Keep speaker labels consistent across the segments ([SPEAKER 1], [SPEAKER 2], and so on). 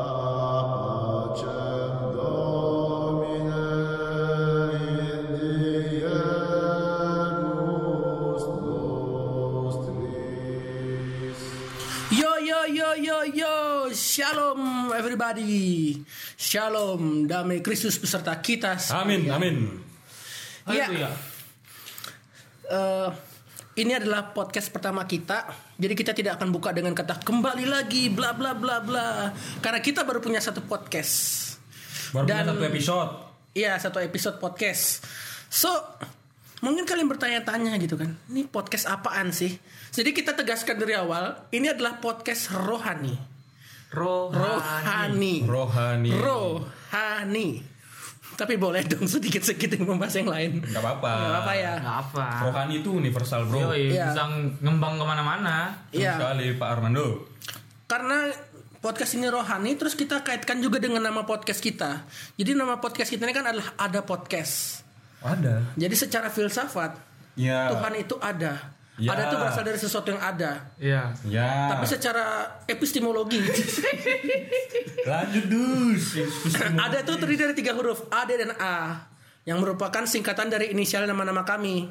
[SPEAKER 1] Da pacem Domine in diebus nostris.
[SPEAKER 2] Yo yo yo yo yo, shalom everybody, shalom damai Kristus beserta kita. semua. Ya.
[SPEAKER 3] Amin, amin.
[SPEAKER 2] Iya.
[SPEAKER 3] Haleluya.
[SPEAKER 2] Eh, ini adalah podcast pertama kita, jadi kita tidak akan buka dengan kata kembali lagi, bla bla bla bla, karena kita baru punya satu podcast.
[SPEAKER 3] Baru punya
[SPEAKER 2] Dan-
[SPEAKER 3] satu episode.
[SPEAKER 2] Iya satu episode podcast. So mungkin kalian bertanya-tanya gitu kan, ini podcast apaan sih? Jadi kita tegaskan dari awal, ini adalah podcast rohani, rohani.
[SPEAKER 3] Rohani.
[SPEAKER 2] rohani. Tapi boleh dong sedikit-sedikit yang membahas yang lain.
[SPEAKER 3] Gak apa-apa.
[SPEAKER 2] Nggak apa ya?
[SPEAKER 4] Nggak apa.
[SPEAKER 3] Rohani itu universal, bro.
[SPEAKER 4] Yoi,
[SPEAKER 2] Iya.
[SPEAKER 4] bisa ngembang kemana-mana.
[SPEAKER 3] Betul
[SPEAKER 2] Iya.
[SPEAKER 3] sekali Pak Armando.
[SPEAKER 2] Karena podcast ini rohani, terus kita kaitkan juga dengan nama podcast kita. Jadi nama podcast kita ini kan adalah ada podcast.
[SPEAKER 3] Ada.
[SPEAKER 2] Jadi secara filsafat
[SPEAKER 3] Ya.
[SPEAKER 2] Tuhan itu ada.
[SPEAKER 3] Ya.
[SPEAKER 2] Ada itu berasal dari sesuatu yang ada.
[SPEAKER 4] Iya.
[SPEAKER 3] Ya.
[SPEAKER 2] Tapi secara epistemologi
[SPEAKER 3] Lanjut dus.
[SPEAKER 2] ada itu terdiri dari tiga huruf A, D, dan A yang merupakan singkatan dari inisial nama-nama kami.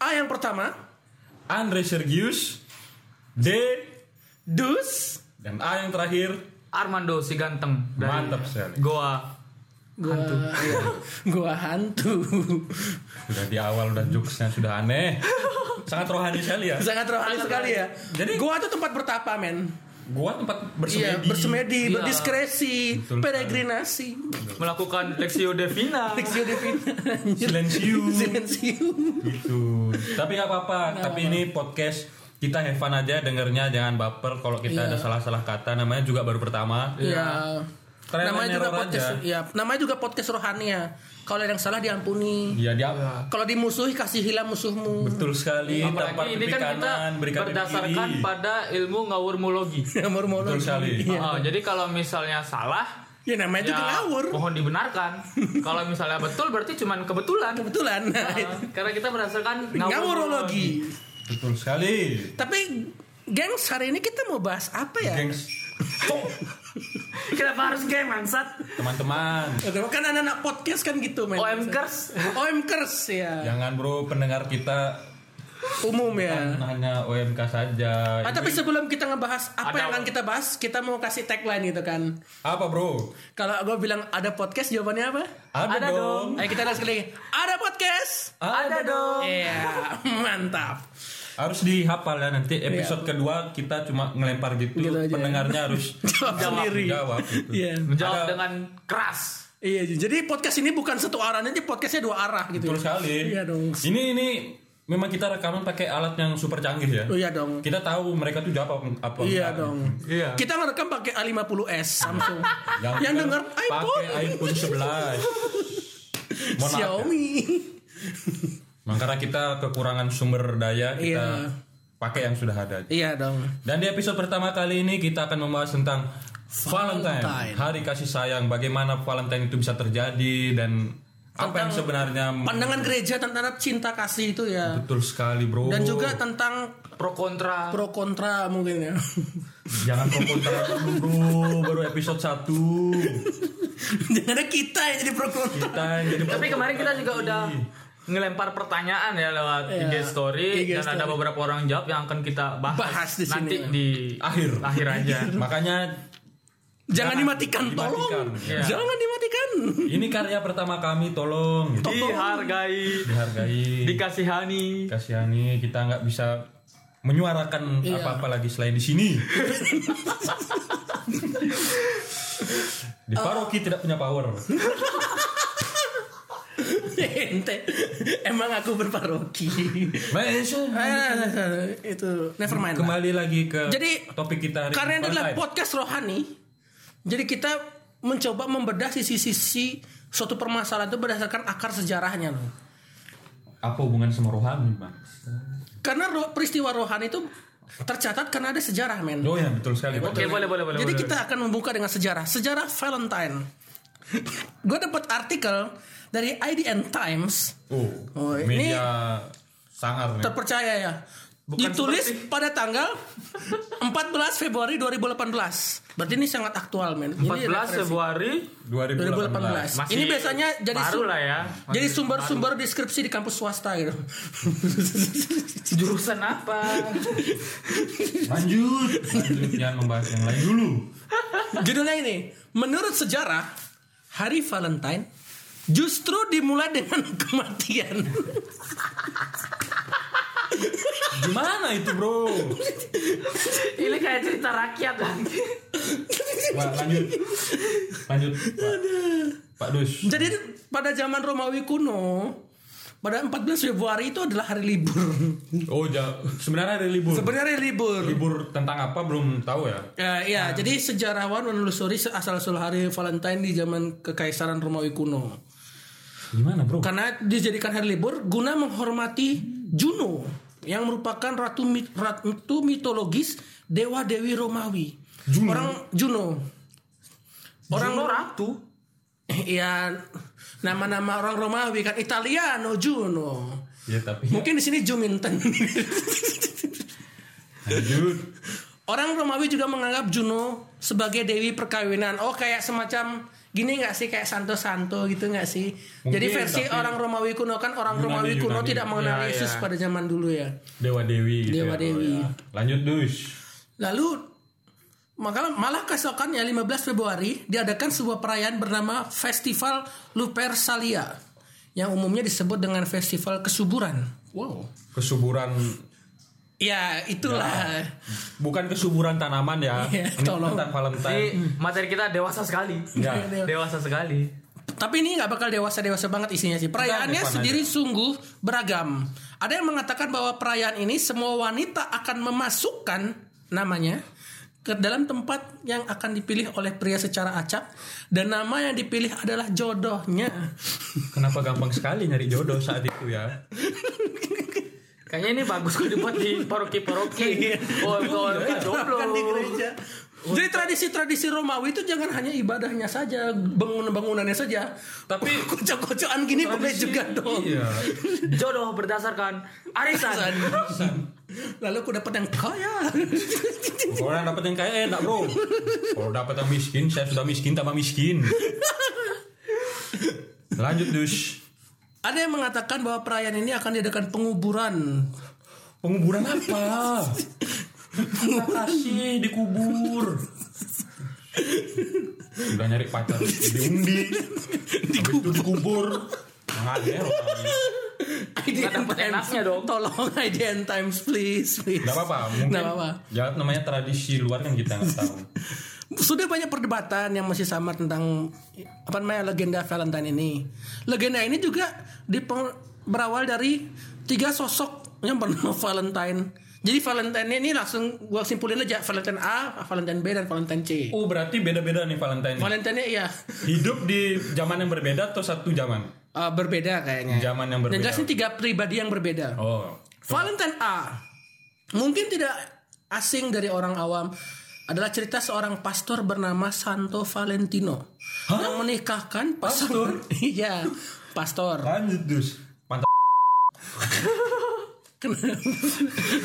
[SPEAKER 2] A yang pertama,
[SPEAKER 3] Andre Sergius. D
[SPEAKER 2] dus,
[SPEAKER 3] dan A yang terakhir.
[SPEAKER 4] Armando si ganteng dari
[SPEAKER 3] Mantap sekali.
[SPEAKER 4] Goa.
[SPEAKER 2] gua hantu. gua hantu.
[SPEAKER 3] Sudah di awal udah jokesnya sudah aneh. Sangat rohani sekali ya.
[SPEAKER 2] Sangat rohani sekali ya. Jadi
[SPEAKER 3] Jadi-
[SPEAKER 2] gua tuh tempat bertapa, men.
[SPEAKER 3] Gua tempat
[SPEAKER 2] Iya,
[SPEAKER 3] bersemedi.
[SPEAKER 2] bersemedi,
[SPEAKER 4] Iya.
[SPEAKER 2] berdiskresi,
[SPEAKER 3] Betul sekali.
[SPEAKER 2] peregrinasi.
[SPEAKER 4] Melakukan Lexio Devina.
[SPEAKER 2] Lexio Divina. anjir.
[SPEAKER 3] Silensium.
[SPEAKER 2] Silensium.
[SPEAKER 3] gitu tapi nggak apa-apa tapi ini podcast kita have fun aja dengernya jangan baper kalau kita ada salah-salah kata namanya juga baru pertama
[SPEAKER 2] Iya.
[SPEAKER 3] Trial
[SPEAKER 2] Namanya
[SPEAKER 3] and
[SPEAKER 2] juga
[SPEAKER 3] error
[SPEAKER 2] podcast,
[SPEAKER 3] aja.
[SPEAKER 2] ya. Namanya juga podcast rohania. Kalau ada yang salah diampuni.
[SPEAKER 3] ya dia
[SPEAKER 2] Kalau dimusuhi kasihilah musuhmu.
[SPEAKER 3] betul sekali tanpa
[SPEAKER 4] Hmm. Apalagi ini
[SPEAKER 3] pipi
[SPEAKER 4] kan kita
[SPEAKER 3] kanan berikan pipi
[SPEAKER 4] berdasarkan
[SPEAKER 3] kiri.
[SPEAKER 4] pada ilmu ngawurmologi.
[SPEAKER 2] Nomor
[SPEAKER 3] betul sekali
[SPEAKER 4] Oh, jadi kalau misalnya salah
[SPEAKER 2] Iya. Ya namanya juga
[SPEAKER 4] ya
[SPEAKER 2] ngawur.
[SPEAKER 4] mohon dibenarkan. kalau misalnya betul berarti cuman kebetulan.
[SPEAKER 2] Kebetulan. Nah,
[SPEAKER 4] Ah,
[SPEAKER 3] Iya.
[SPEAKER 4] karena kita berdasarkan
[SPEAKER 2] Ngawurologi.
[SPEAKER 3] betul sekali
[SPEAKER 2] Tapi gengs hari ini kita mau bahas apa ya?
[SPEAKER 3] gengs Cok,
[SPEAKER 4] Iya. Kenapa harus game mansat?
[SPEAKER 3] teman-teman
[SPEAKER 2] Oke, kan anak-anak podcast kan gitu
[SPEAKER 4] Oh,
[SPEAKER 2] men.
[SPEAKER 4] OMKers.
[SPEAKER 2] OMKers ya.
[SPEAKER 3] jangan bro pendengar kita
[SPEAKER 2] Umum ya.
[SPEAKER 3] hanya OMK saja
[SPEAKER 2] Ah, tapi sebelum kita ngebahas apa
[SPEAKER 4] Ada-
[SPEAKER 2] yang akan kita bahas, kita mau kasih tagline gitu kan.
[SPEAKER 3] apa bro
[SPEAKER 2] Kalau gue bilang ada podcast, jawabannya apa?
[SPEAKER 3] ada,
[SPEAKER 4] Ada
[SPEAKER 3] dong,
[SPEAKER 2] Ayo kita lihat sekali. lagi. Ada podcast.
[SPEAKER 4] Ada dong.
[SPEAKER 2] Iya, mantap.
[SPEAKER 3] harus dihafal ya nanti episode
[SPEAKER 4] Iya.
[SPEAKER 3] kedua kita cuma ngelempar gitu,
[SPEAKER 2] Gitu
[SPEAKER 4] ya.
[SPEAKER 2] aja.
[SPEAKER 3] pendengarnya harus
[SPEAKER 2] Jawab sendiri.
[SPEAKER 3] jawab gitu.
[SPEAKER 2] Iya.
[SPEAKER 4] Menjawab
[SPEAKER 3] Ada-
[SPEAKER 4] dengan keras.
[SPEAKER 2] Iya, jadi podcast ini bukan satu arah, nanti podcastnya dua arah gitu.
[SPEAKER 3] Betul
[SPEAKER 2] ya.
[SPEAKER 3] sekali.
[SPEAKER 2] Iya dong.
[SPEAKER 3] Ini ini memang kita rekaman pakai alat yang super canggih ya.
[SPEAKER 2] Oh, iya dong.
[SPEAKER 3] Kita tahu mereka tuh jawab apa. apa
[SPEAKER 2] Iya dong.
[SPEAKER 4] Iya.
[SPEAKER 2] Kita ngerekam pakai A50s Samsung.
[SPEAKER 3] Yang,
[SPEAKER 2] Ah, Yang
[SPEAKER 3] kita
[SPEAKER 2] denger
[SPEAKER 3] pakai
[SPEAKER 2] iPhone,
[SPEAKER 3] iPhone 11. Mohon maaf ya.
[SPEAKER 2] Xiaomi.
[SPEAKER 3] Memang karena kita kekurangan sumber daya kita
[SPEAKER 2] Iya.
[SPEAKER 3] pakai yang sudah ada.
[SPEAKER 2] iya dong.
[SPEAKER 3] Dan di episode pertama kali ini kita akan membahas tentang Valentine,
[SPEAKER 2] Valentine.
[SPEAKER 3] hari kasih sayang. Bagaimana Valentine itu bisa terjadi dan apa yang sebenarnya
[SPEAKER 2] Pandangan gereja tentang cinta kasih itu ya.
[SPEAKER 3] betul sekali, Bro.
[SPEAKER 2] Dan juga tentang
[SPEAKER 4] Pro kontra.
[SPEAKER 2] pro kontra mungkin ya.
[SPEAKER 3] jangan komputer dulu, Bro. Baru episode 1.
[SPEAKER 2] Jangan ada kita yang jadi pro kontra.
[SPEAKER 3] kita yang jadi
[SPEAKER 4] Tapi kemarin kita juga udah
[SPEAKER 2] Iya.
[SPEAKER 4] ngelempar pertanyaan ya lewat IG story
[SPEAKER 2] IG Iya.
[SPEAKER 4] dan ada
[SPEAKER 2] story.
[SPEAKER 4] beberapa orang jawab yang akan kita bahas,
[SPEAKER 2] Bahas di sini.
[SPEAKER 4] nanti di
[SPEAKER 3] Akhir.
[SPEAKER 4] akhir aja.
[SPEAKER 3] makanya
[SPEAKER 2] Jangan dimatikan,
[SPEAKER 3] Dimatikan,
[SPEAKER 2] tolong.
[SPEAKER 3] ya.
[SPEAKER 2] Jangan dimatikan.
[SPEAKER 3] ini karya pertama kami tolong gitu.
[SPEAKER 4] Dihargai,
[SPEAKER 3] dihargai
[SPEAKER 4] dikasihani.
[SPEAKER 3] kasihani kita nggak bisa menyuarakan
[SPEAKER 2] Iya.
[SPEAKER 3] apa-apa lagi selain di sini di
[SPEAKER 2] Eh.
[SPEAKER 3] paroki tidak punya power
[SPEAKER 2] Ente. Emang aku berparoki.
[SPEAKER 3] Baik,
[SPEAKER 2] Eh, itu never mind. lah.
[SPEAKER 3] kembali lagi ke
[SPEAKER 2] Jadi,
[SPEAKER 3] topik kita hari
[SPEAKER 2] Karena ini adalah
[SPEAKER 3] Valentine.
[SPEAKER 2] podcast rohani, jadi kita mencoba membedah sisi-sisi suatu permasalahan itu berdasarkan akar sejarahnya loh.
[SPEAKER 3] apa hubungan sama rohani bang
[SPEAKER 2] Karena ro- peristiwa rohani itu tercatat karena ada sejarah men.
[SPEAKER 3] oh ya betul sekali
[SPEAKER 4] Oke, boleh boleh boleh.
[SPEAKER 2] Jadi
[SPEAKER 4] boleh.
[SPEAKER 2] kita akan membuka dengan sejarah, sejarah Valentine. Gue dapat artikel dari IDN Times,
[SPEAKER 3] oh
[SPEAKER 2] Oh, ini-
[SPEAKER 3] media sangar nih.
[SPEAKER 2] terpercaya ya.
[SPEAKER 4] Bukan
[SPEAKER 2] Ditulis
[SPEAKER 4] seperti-
[SPEAKER 2] pada tanggal 14 Februari 2018. Berarti ini sangat aktual, men. Ini
[SPEAKER 4] 14
[SPEAKER 2] referensi.
[SPEAKER 4] Februari
[SPEAKER 2] 2018. Ini
[SPEAKER 3] 2018.
[SPEAKER 4] Masih
[SPEAKER 2] biasanya jadi
[SPEAKER 4] baru
[SPEAKER 2] su-
[SPEAKER 4] lah ya. Masih
[SPEAKER 2] Jadi sumber-sumber deskripsi di kampus swasta gitu.
[SPEAKER 4] jurusan apa?
[SPEAKER 3] Lanjut. Lanjut jangan membahas yang lain dulu.
[SPEAKER 2] Judulnya ini, menurut sejarah hari Valentine justru dimulai dengan kematian.
[SPEAKER 3] Gimana itu, Bro?
[SPEAKER 4] Ini kayak cerita rakyat
[SPEAKER 2] kan?
[SPEAKER 4] lagi.
[SPEAKER 3] Wah, lanjut. Lanjut. Pak, Pak Dus.
[SPEAKER 2] Jadi pada zaman Romawi kuno, pada 14 Februari itu adalah hari libur.
[SPEAKER 3] Oh, ja- sebenarnya ada libur.
[SPEAKER 2] Sebenarnya libur.
[SPEAKER 3] libur tentang apa belum tahu ya.
[SPEAKER 2] Ya, iya, jadi sejarawan menelusuri asal usul hari Valentine di zaman kekaisaran Romawi kuno.
[SPEAKER 3] Gimana, Bro?
[SPEAKER 2] Karena dijadikan hari libur guna menghormati Juno yang merupakan ratu, mit- ratu mitologis dewa dewi Romawi. Orang Juno. Orang
[SPEAKER 4] Juno ratu.
[SPEAKER 2] Iya, nama-nama orang Romawi kan Italiano Juno.
[SPEAKER 3] Ya, tapi
[SPEAKER 2] Mungkin di sini Juminten.
[SPEAKER 3] lanjut.
[SPEAKER 2] Orang Romawi juga menganggap Juno sebagai dewi perkawinan. Oh, kayak semacam gini nggak sih kayak Santo-Santo gitu nggak sih? Jadi
[SPEAKER 3] Mungkin,
[SPEAKER 2] versi
[SPEAKER 3] tapi-
[SPEAKER 2] orang Romawi kuno kan orang Romawi
[SPEAKER 3] Yunani,
[SPEAKER 2] kuno
[SPEAKER 3] Yunani.
[SPEAKER 2] tidak mengenal
[SPEAKER 4] Ya,
[SPEAKER 2] Yesus
[SPEAKER 4] ya.
[SPEAKER 2] pada zaman dulu ya.
[SPEAKER 3] Dewa Dewi gitu
[SPEAKER 2] Dewa
[SPEAKER 3] ya, Bro,
[SPEAKER 2] Dewi.
[SPEAKER 3] ya. Lanjut, Dus.
[SPEAKER 2] Lalu maka malah keesokannya 15 Februari diadakan sebuah perayaan bernama Festival Lupercalia yang umumnya disebut dengan Festival Kesuburan. Wow.
[SPEAKER 3] Kesuburan
[SPEAKER 2] Ya, itulah.
[SPEAKER 3] bukan kesuburan tanaman ya.
[SPEAKER 2] Iya,
[SPEAKER 3] Ini
[SPEAKER 2] tolong.
[SPEAKER 3] tentang
[SPEAKER 4] Jadi
[SPEAKER 3] Valentine.
[SPEAKER 4] materi kita dewasa sekali.
[SPEAKER 3] Ya.
[SPEAKER 2] Iya.
[SPEAKER 4] Dewasa sekali.
[SPEAKER 2] Tapi ini nggak bakal dewasa-dewasa banget isinya sih. Perayaannya
[SPEAKER 3] Bukan, bukan
[SPEAKER 2] sendiri sungguh beragam. Ada yang mengatakan bahwa perayaan ini semua wanita akan memasukkan namanya ke dalam tempat yang akan dipilih oleh pria secara acak dan nama yang dipilih adalah jodohnya.
[SPEAKER 3] Kenapa gampang sekali nyari jodoh saat itu ya?
[SPEAKER 4] Kayaknya ini bagus kok dibuat di paroki-paroki. Oh, kalau
[SPEAKER 2] Diterapkan Iya. di
[SPEAKER 4] jomblo.
[SPEAKER 2] gereja. Jadi tradisi-tradisi Romawi itu jangan hanya ibadahnya saja, bangunan-bangunannya saja. Tapi kocok-kocokan gini boleh juga dong.
[SPEAKER 3] Iya.
[SPEAKER 4] Jodoh berdasarkan arisan.
[SPEAKER 2] Lalu aku dapat yang kaya.
[SPEAKER 3] Kalau orang dapat yang kaya enak bro. Kalau dapat yang miskin, saya sudah miskin tambah miskin. Lanjut dus.
[SPEAKER 2] Ada yang mengatakan bahwa perayaan ini akan diadakan penguburan.
[SPEAKER 3] Penguburan apa? Kita kasih dikubur. Udah nyari pacar diundi, dikubur, dikubur. ya, Ngalir.
[SPEAKER 2] Idea
[SPEAKER 4] dapat enaknya dong.
[SPEAKER 2] Tolong idea and times please, please.
[SPEAKER 3] Gak apa-apa, mungkin
[SPEAKER 2] Nggak apa-apa.
[SPEAKER 3] ya namanya tradisi luar kan kita nggak tahu.
[SPEAKER 2] Sudah banyak perdebatan yang masih sama tentang apa namanya legenda Valentine ini. Legenda ini juga dipen- berawal dari tiga sosok yang bernama Valentine. Jadi Valentine ini langsung gua simpulin aja Valentine A, Valentine B dan Valentine C.
[SPEAKER 3] Oh berarti beda-beda nih Valentine.
[SPEAKER 2] Valentine ya
[SPEAKER 3] Hidup di zaman yang berbeda atau satu zaman?
[SPEAKER 2] eh, berbeda kayaknya.
[SPEAKER 3] Zaman yang berbeda.
[SPEAKER 2] Yang jelas ini tiga pribadi yang berbeda.
[SPEAKER 3] Oh.
[SPEAKER 2] Valentine A mungkin tidak asing dari orang awam adalah cerita seorang pastor bernama Santo Valentino yang menikahkan pastor iya pastor
[SPEAKER 3] Lanjut dus. Mantap.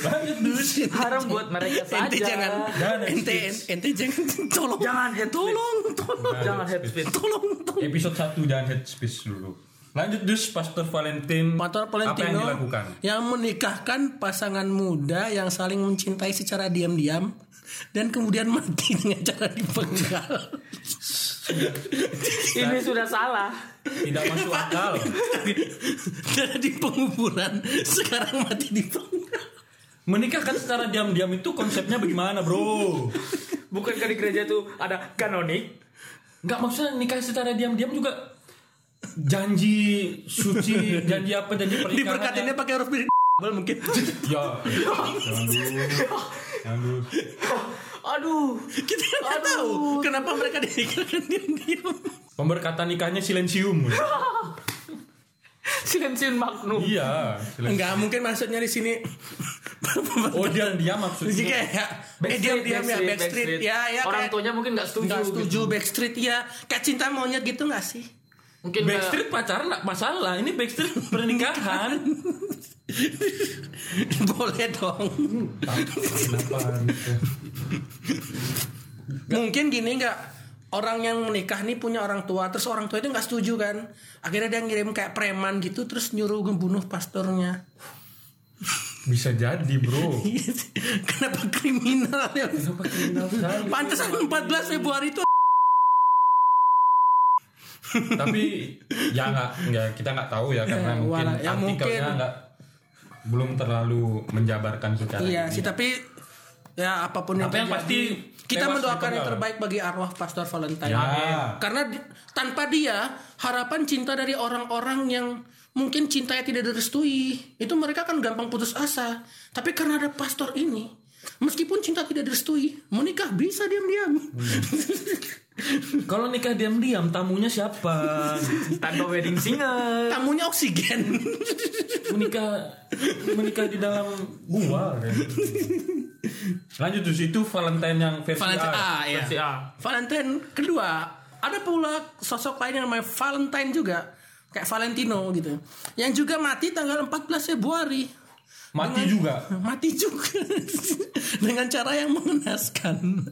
[SPEAKER 3] Lanjut dus.
[SPEAKER 4] Haram buat mereka saja.
[SPEAKER 2] ente jangan
[SPEAKER 3] Jangan head
[SPEAKER 2] ente ente jangan tolong
[SPEAKER 4] Jangan head speech.
[SPEAKER 2] tolong tolong
[SPEAKER 4] Jangan head speech.
[SPEAKER 2] tolong tolong
[SPEAKER 3] Episode 1 jangan head speech dulu. Lanjut dus Pastor Valentin.
[SPEAKER 2] Pastor Valentino
[SPEAKER 3] Apa yang dilakukan?
[SPEAKER 2] yang menikahkan pasangan muda yang saling mencintai secara diam-diam dan kemudian mati dengan cara dipenggal.
[SPEAKER 4] Ini sudah salah.
[SPEAKER 3] Tidak masuk akal.
[SPEAKER 2] Karena di penguburan sekarang mati di penguburan.
[SPEAKER 3] Menikahkan secara diam-diam itu konsepnya bagaimana bro?
[SPEAKER 4] Bukankah di gereja itu ada kanonik?
[SPEAKER 3] Gak maksudnya nikah secara diam-diam juga janji suci janji apa janji pernikahan
[SPEAKER 2] Diberkatinnya pakai huruf B mungkin.
[SPEAKER 3] ya jangan dulu jangan dulu
[SPEAKER 4] Aduh,
[SPEAKER 2] Kita nggak tahu kenapa mereka dinikahkan diam-diam.
[SPEAKER 3] pemberkatan nikahnya silensium
[SPEAKER 4] silensin maknum.
[SPEAKER 3] iya silensium.
[SPEAKER 2] Enggak, mungkin maksudnya di sini
[SPEAKER 3] oh
[SPEAKER 2] Jadi
[SPEAKER 3] diam diam
[SPEAKER 4] iya.
[SPEAKER 3] maksudnya
[SPEAKER 2] kayak eh diam-diam ya backstreet ya ya
[SPEAKER 4] Orang
[SPEAKER 2] kayak-
[SPEAKER 4] tuanya mungkin nggak setuju.
[SPEAKER 2] nggak
[SPEAKER 4] gitu.
[SPEAKER 2] setuju backstreet ya kayak cinta monyet gitu nggak sih
[SPEAKER 4] Mungkin eh, nggak-
[SPEAKER 3] Backstreet pacaran gak masalah Ini Backstreet pernikahan
[SPEAKER 2] Boleh dong.
[SPEAKER 3] Kenapa? gitu?
[SPEAKER 2] Mungkin gini nggak orang yang menikah nih punya orang tua terus orang tua itu nggak setuju kan akhirnya dia ngirim kayak preman gitu terus nyuruh ngebunuh pastornya
[SPEAKER 3] Bisa jadi bro.
[SPEAKER 2] kenapa kriminal ya
[SPEAKER 3] Kenapa kriminal sekali?
[SPEAKER 2] pantesan 14 Februari itu
[SPEAKER 3] Tapi ya nggak, nggak kita nggak tahu ya karena
[SPEAKER 2] Ya,
[SPEAKER 3] mungkin
[SPEAKER 2] wala- ya
[SPEAKER 3] artikelnya
[SPEAKER 2] mungkin.
[SPEAKER 3] nggak belum terlalu menjabarkan secara.
[SPEAKER 2] Iya
[SPEAKER 3] ini.
[SPEAKER 2] sih tapi ya apapun
[SPEAKER 3] Tapi yang
[SPEAKER 2] terjadi,
[SPEAKER 3] pasti
[SPEAKER 2] kita
[SPEAKER 3] tewas
[SPEAKER 2] mendoakan yang
[SPEAKER 3] ditinggal.
[SPEAKER 2] terbaik bagi arwah Pastor Valentine.
[SPEAKER 3] Ya.
[SPEAKER 2] Karena di- tanpa dia harapan cinta dari orang-orang yang mungkin cintanya tidak direstui itu mereka kan gampang putus asa. Tapi karena ada pastor ini meskipun cinta tidak direstui menikah bisa diam-diam.
[SPEAKER 3] Hmm. Kalau nikah diam-diam tamunya siapa?
[SPEAKER 4] Tanpa wedding singer.
[SPEAKER 2] Tamunya oksigen.
[SPEAKER 3] menikah menikah di dalam gua. kayak gitu. Lanjut terus itu Valentine yang versi
[SPEAKER 2] Valentine A,
[SPEAKER 3] A.
[SPEAKER 2] ya.
[SPEAKER 4] versi A.
[SPEAKER 2] Valentine kedua ada pula sosok lain yang namanya Valentine juga kayak Valentino gitu yang juga mati tanggal 14 Februari
[SPEAKER 3] Mati juga.
[SPEAKER 2] mati juga dengan cara yang mengenaskan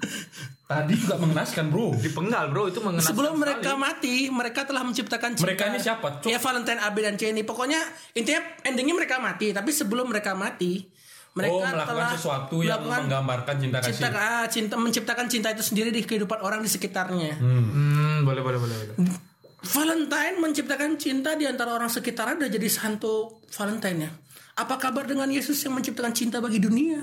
[SPEAKER 3] Tadi juga mengenaskan bro.
[SPEAKER 4] Dipenggal bro itu mengenai
[SPEAKER 2] sebelum mereka mati mereka telah menciptakan cinta.
[SPEAKER 3] Mereka ini siapa? Cuk?
[SPEAKER 2] ya Valentine A B dan C ini pokoknya intinya endingnya mereka mati tapi sebelum mereka mati mereka
[SPEAKER 3] oh melakukan
[SPEAKER 2] telah
[SPEAKER 3] sesuatu yang
[SPEAKER 2] melakukan
[SPEAKER 3] menggambarkan cinta kasih.
[SPEAKER 2] cinta, ah, cinta menciptakan cinta itu sendiri di kehidupan orang di sekitarnya
[SPEAKER 4] Hmm, boleh boleh boleh. boleh.
[SPEAKER 2] Valentine menciptakan cinta di antara orang sekitarnya dan jadi santo Valentine ya. Apa kabar dengan Yesus yang menciptakan cinta bagi dunia?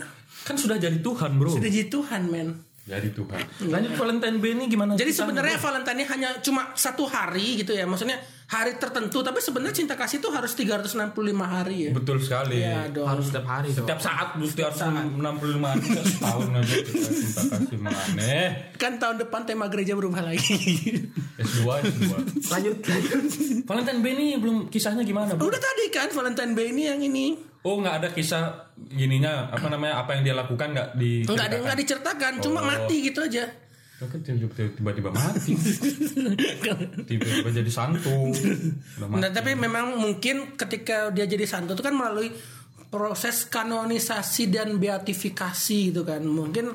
[SPEAKER 3] Kan sudah jadi Tuhan bro.
[SPEAKER 2] Sudah jadi Tuhan, men.
[SPEAKER 3] Jadi Tuhan. Lanjut Valentine B ini gimana?
[SPEAKER 2] Jadi
[SPEAKER 3] Kita-
[SPEAKER 2] sebenarnya Valentine ini hanya cuma satu hari gitu ya. Maksudnya hari tertentu, tapi sebenarnya cinta kasih itu harus 365 hari ya.
[SPEAKER 3] betul sekali.
[SPEAKER 2] Ya dong.
[SPEAKER 4] Harus setiap hari dong.
[SPEAKER 3] Setiap saat mesti harus 65 hari setahun aja kita cinta kasih Eh, menganeh.
[SPEAKER 2] Kan tahun depan tema gereja berubah lagi.
[SPEAKER 3] S2 S2.
[SPEAKER 4] Lanjut.
[SPEAKER 3] Valentine B ini belum kisahnya gimana bro?
[SPEAKER 2] Udah tadi kan Valentine Day ini yang ini.
[SPEAKER 3] Oh nggak ada kisah gininya apa namanya apa yang dia lakukan nggak di
[SPEAKER 2] Enggak ada enggak diceritakan, cuma
[SPEAKER 3] Oh.
[SPEAKER 2] mati gitu aja.
[SPEAKER 3] tiba-tiba mati tiba-tiba jadi santu Udah mati.
[SPEAKER 2] Nah, tapi memang mungkin ketika dia jadi santo itu kan melalui proses kanonisasi dan beatifikasi gitu kan. Mungkin